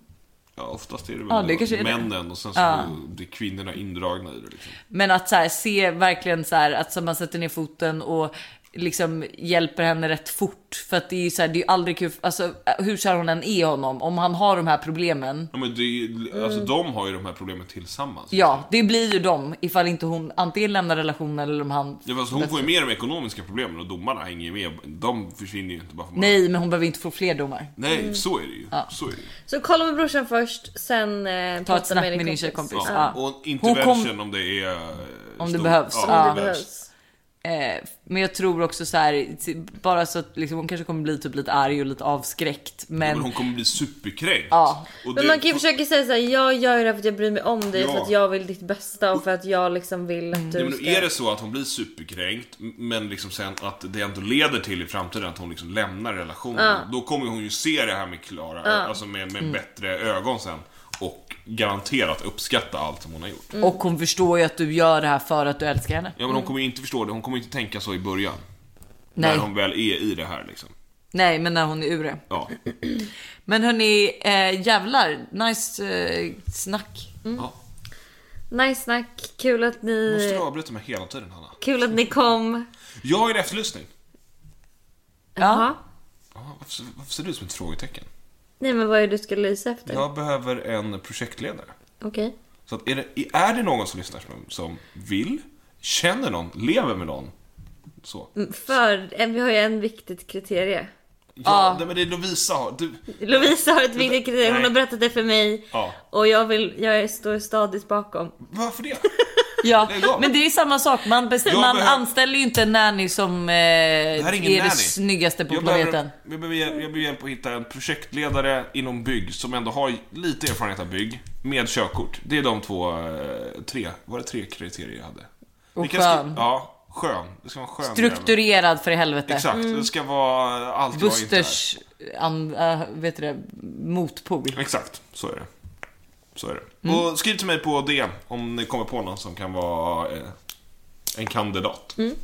Ja, oftast är det väl
Ja, det
då
kanske är det.
männen och sen så blir kvinnorna indragna i det liksom.
Men att så här, se verkligen så här, att så man sätter ner foten och liksom hjälper henne rätt fort. För att det är ju så här, det är ju aldrig kul, alltså hur kär hon än är honom, om han har de här problemen
Ja, men det, är ju- alltså, de har ju de här problemen tillsammans.
Mm. Ja, det blir ju dem ifall inte hon antingen lämnar relationen eller om han...
Ja, fast hon får ju med de ekonomiska problemen och domarna hänger ju med. De försvinner ju inte bara för man...
Nej, Mm. men hon behöver inte få fler domar.
Nej, så är det ju. Så är det ju.
Så kolla med brorsan först, sen eh,
Ta ett snack med din tjejkompis.
Ja.
Ja.
Och en
Hon kom-
intervention om det är... eh,
Om det
stor-
behövs.
Ja, om
Ja.
Om
det
det
behövs.
behövs.
Eh, men jag tror också så här, t- bara så att liksom, hon kanske kommer bli typ lite arg och lite avskräckt. Men,
Men hon kommer bli superkränkt.
Ja.
Och
Men
det-
man kan ju försöka säga såhär, jag gör det för att jag bryr mig om dig,
Ja.
för att jag vill ditt bästa och för att jag liksom vill att
Nej,
du
men
ska...
är det så att hon blir superkränkt, men liksom sen att det ändå leder till i framtiden att hon liksom lämnar relationen. Då kommer hon ju se det här med Klara, alltså med,
Mm.
med bättre ögon sen. Och garanterat uppskatta allt som hon har gjort.
Och hon förstår ju att du gör det här för att du älskar henne.
Ja, men hon kommer ju inte förstå det, hon kommer inte tänka så i början.
Nej,
När hon väl är i det här liksom.
nej men när hon är ur det.
Ja.
Men hörni, eh, jävlar. Nice eh, snack.
ja.
Nice snack, kul att
Måste du
ni,
avbryta mig hela tiden, Hanna?
kul att ni kom.
Jag har en efterlysning.
Ja.
Jaha.
Ja, Varför, varför ser du ut som ett frågetecken?
Nej men vad är det du ska lysa efter?
Jag behöver en projektledare.
Okej.
Så att är, det, är det någon som lyssnar som, som vill, känner någon, lever med någon? Så.
Mm, För en, vi har ju en viktigt kriterie.
Ja, nej, men det är Lovisa har. Du,
Lovisa har ett viktigt kriterie, hon
Nej.
har berättat det för mig.
Ja.
Och jag vill, jag är- står stadigt bakom.
varför det?
Ja,
Lägg av.
men det är samma sak. Man, bestäm-
Jag
man
behöver-
anställer ju inte en nanny som eh, är,
här är ingen
det
nanny.
snyggaste på
Jag
planeten.
behöver, jag, behöver, hjälp- jag behöver hjälp att hitta en projektledare inom bygg som ändå har lite erfarenhet av bygg med körkort. Det är de två, eh, tre, var det tre kriterier jag hade?
Och
Vi kan skri-
skön.
Ja, skön. Det ska vara en skön jävel.
Strukturerad för i helvete.
Exakt, det ska vara allt jag inte är.
Busters an, äh, vet du det, motpol.
Exakt, så är det. Så är det.
Mm.
Och skriv till mig på DM om ni kommer på någon som kan vara eh, en kandidat.
Mm.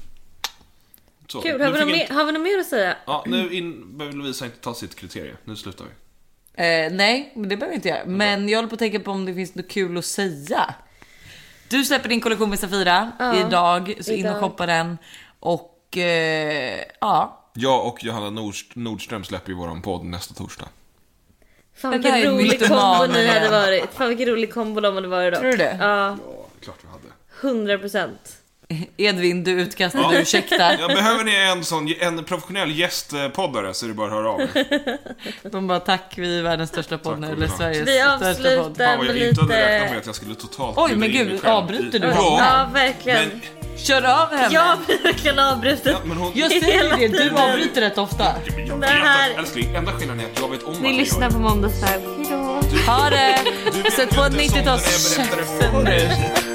Så,
Kul,
nu
har vi, något
fick jag
mer,
inte-
har vi något mer att säga?
Ja, nu in, behöver Lovisa inte ta sitt kriterie. Nu slutar vi.
Eh, nej, men det behöver jag inte göra.
Mm.
Men jag håller på att tänka på om det finns något kul att säga. Du släpper din kollektion med Safira idag, så in och
idag.
shoppa den. Och eh, ja, [laughs]
Jag och Johanna Nordst- Nordström släpper ju våran podd nästa torsdag.
Fan
Den
vilken
där är
rolig
mytomanen
kombo ni
igen.
hade varit. Fan vilken rolig kombo de hade varit då.
Tror du det?
Ja,
Ja, klart vi hade.
100 procent.
Edvin du utkastar,
Ja.
du ursäktar.
Ja, behöver ni en sån en professionell gästpoddare så är det bara att höra av er.
De bara tack, vi är världens största podd nu,
Tack,
eller
Ola.
Sveriges
Vi
största podd.
avslutar
Fan vad
med
jag inte hade räknat med
lite...
att jag skulle totalt
Oj,
bjuda
men
in
gud,
mig själv
avbryter
i-
du
Ja,
Ja, verkligen.
men,
Kör av henne!
Jag har verkligen avbrutit.
ja, men hon...
Jag säger ju det, du avbryter rätt ofta.
Jag
Det
vet
här-
att, älskling, enda skillnaden är att jag vet om
Ni
att jag
lyssnar
gör
på Måndagsfärg. Hejdå!
Ha det!
det. Du vet
Sätt
ju
på
inte sånt när jag
90-tals...
berättar det för dig.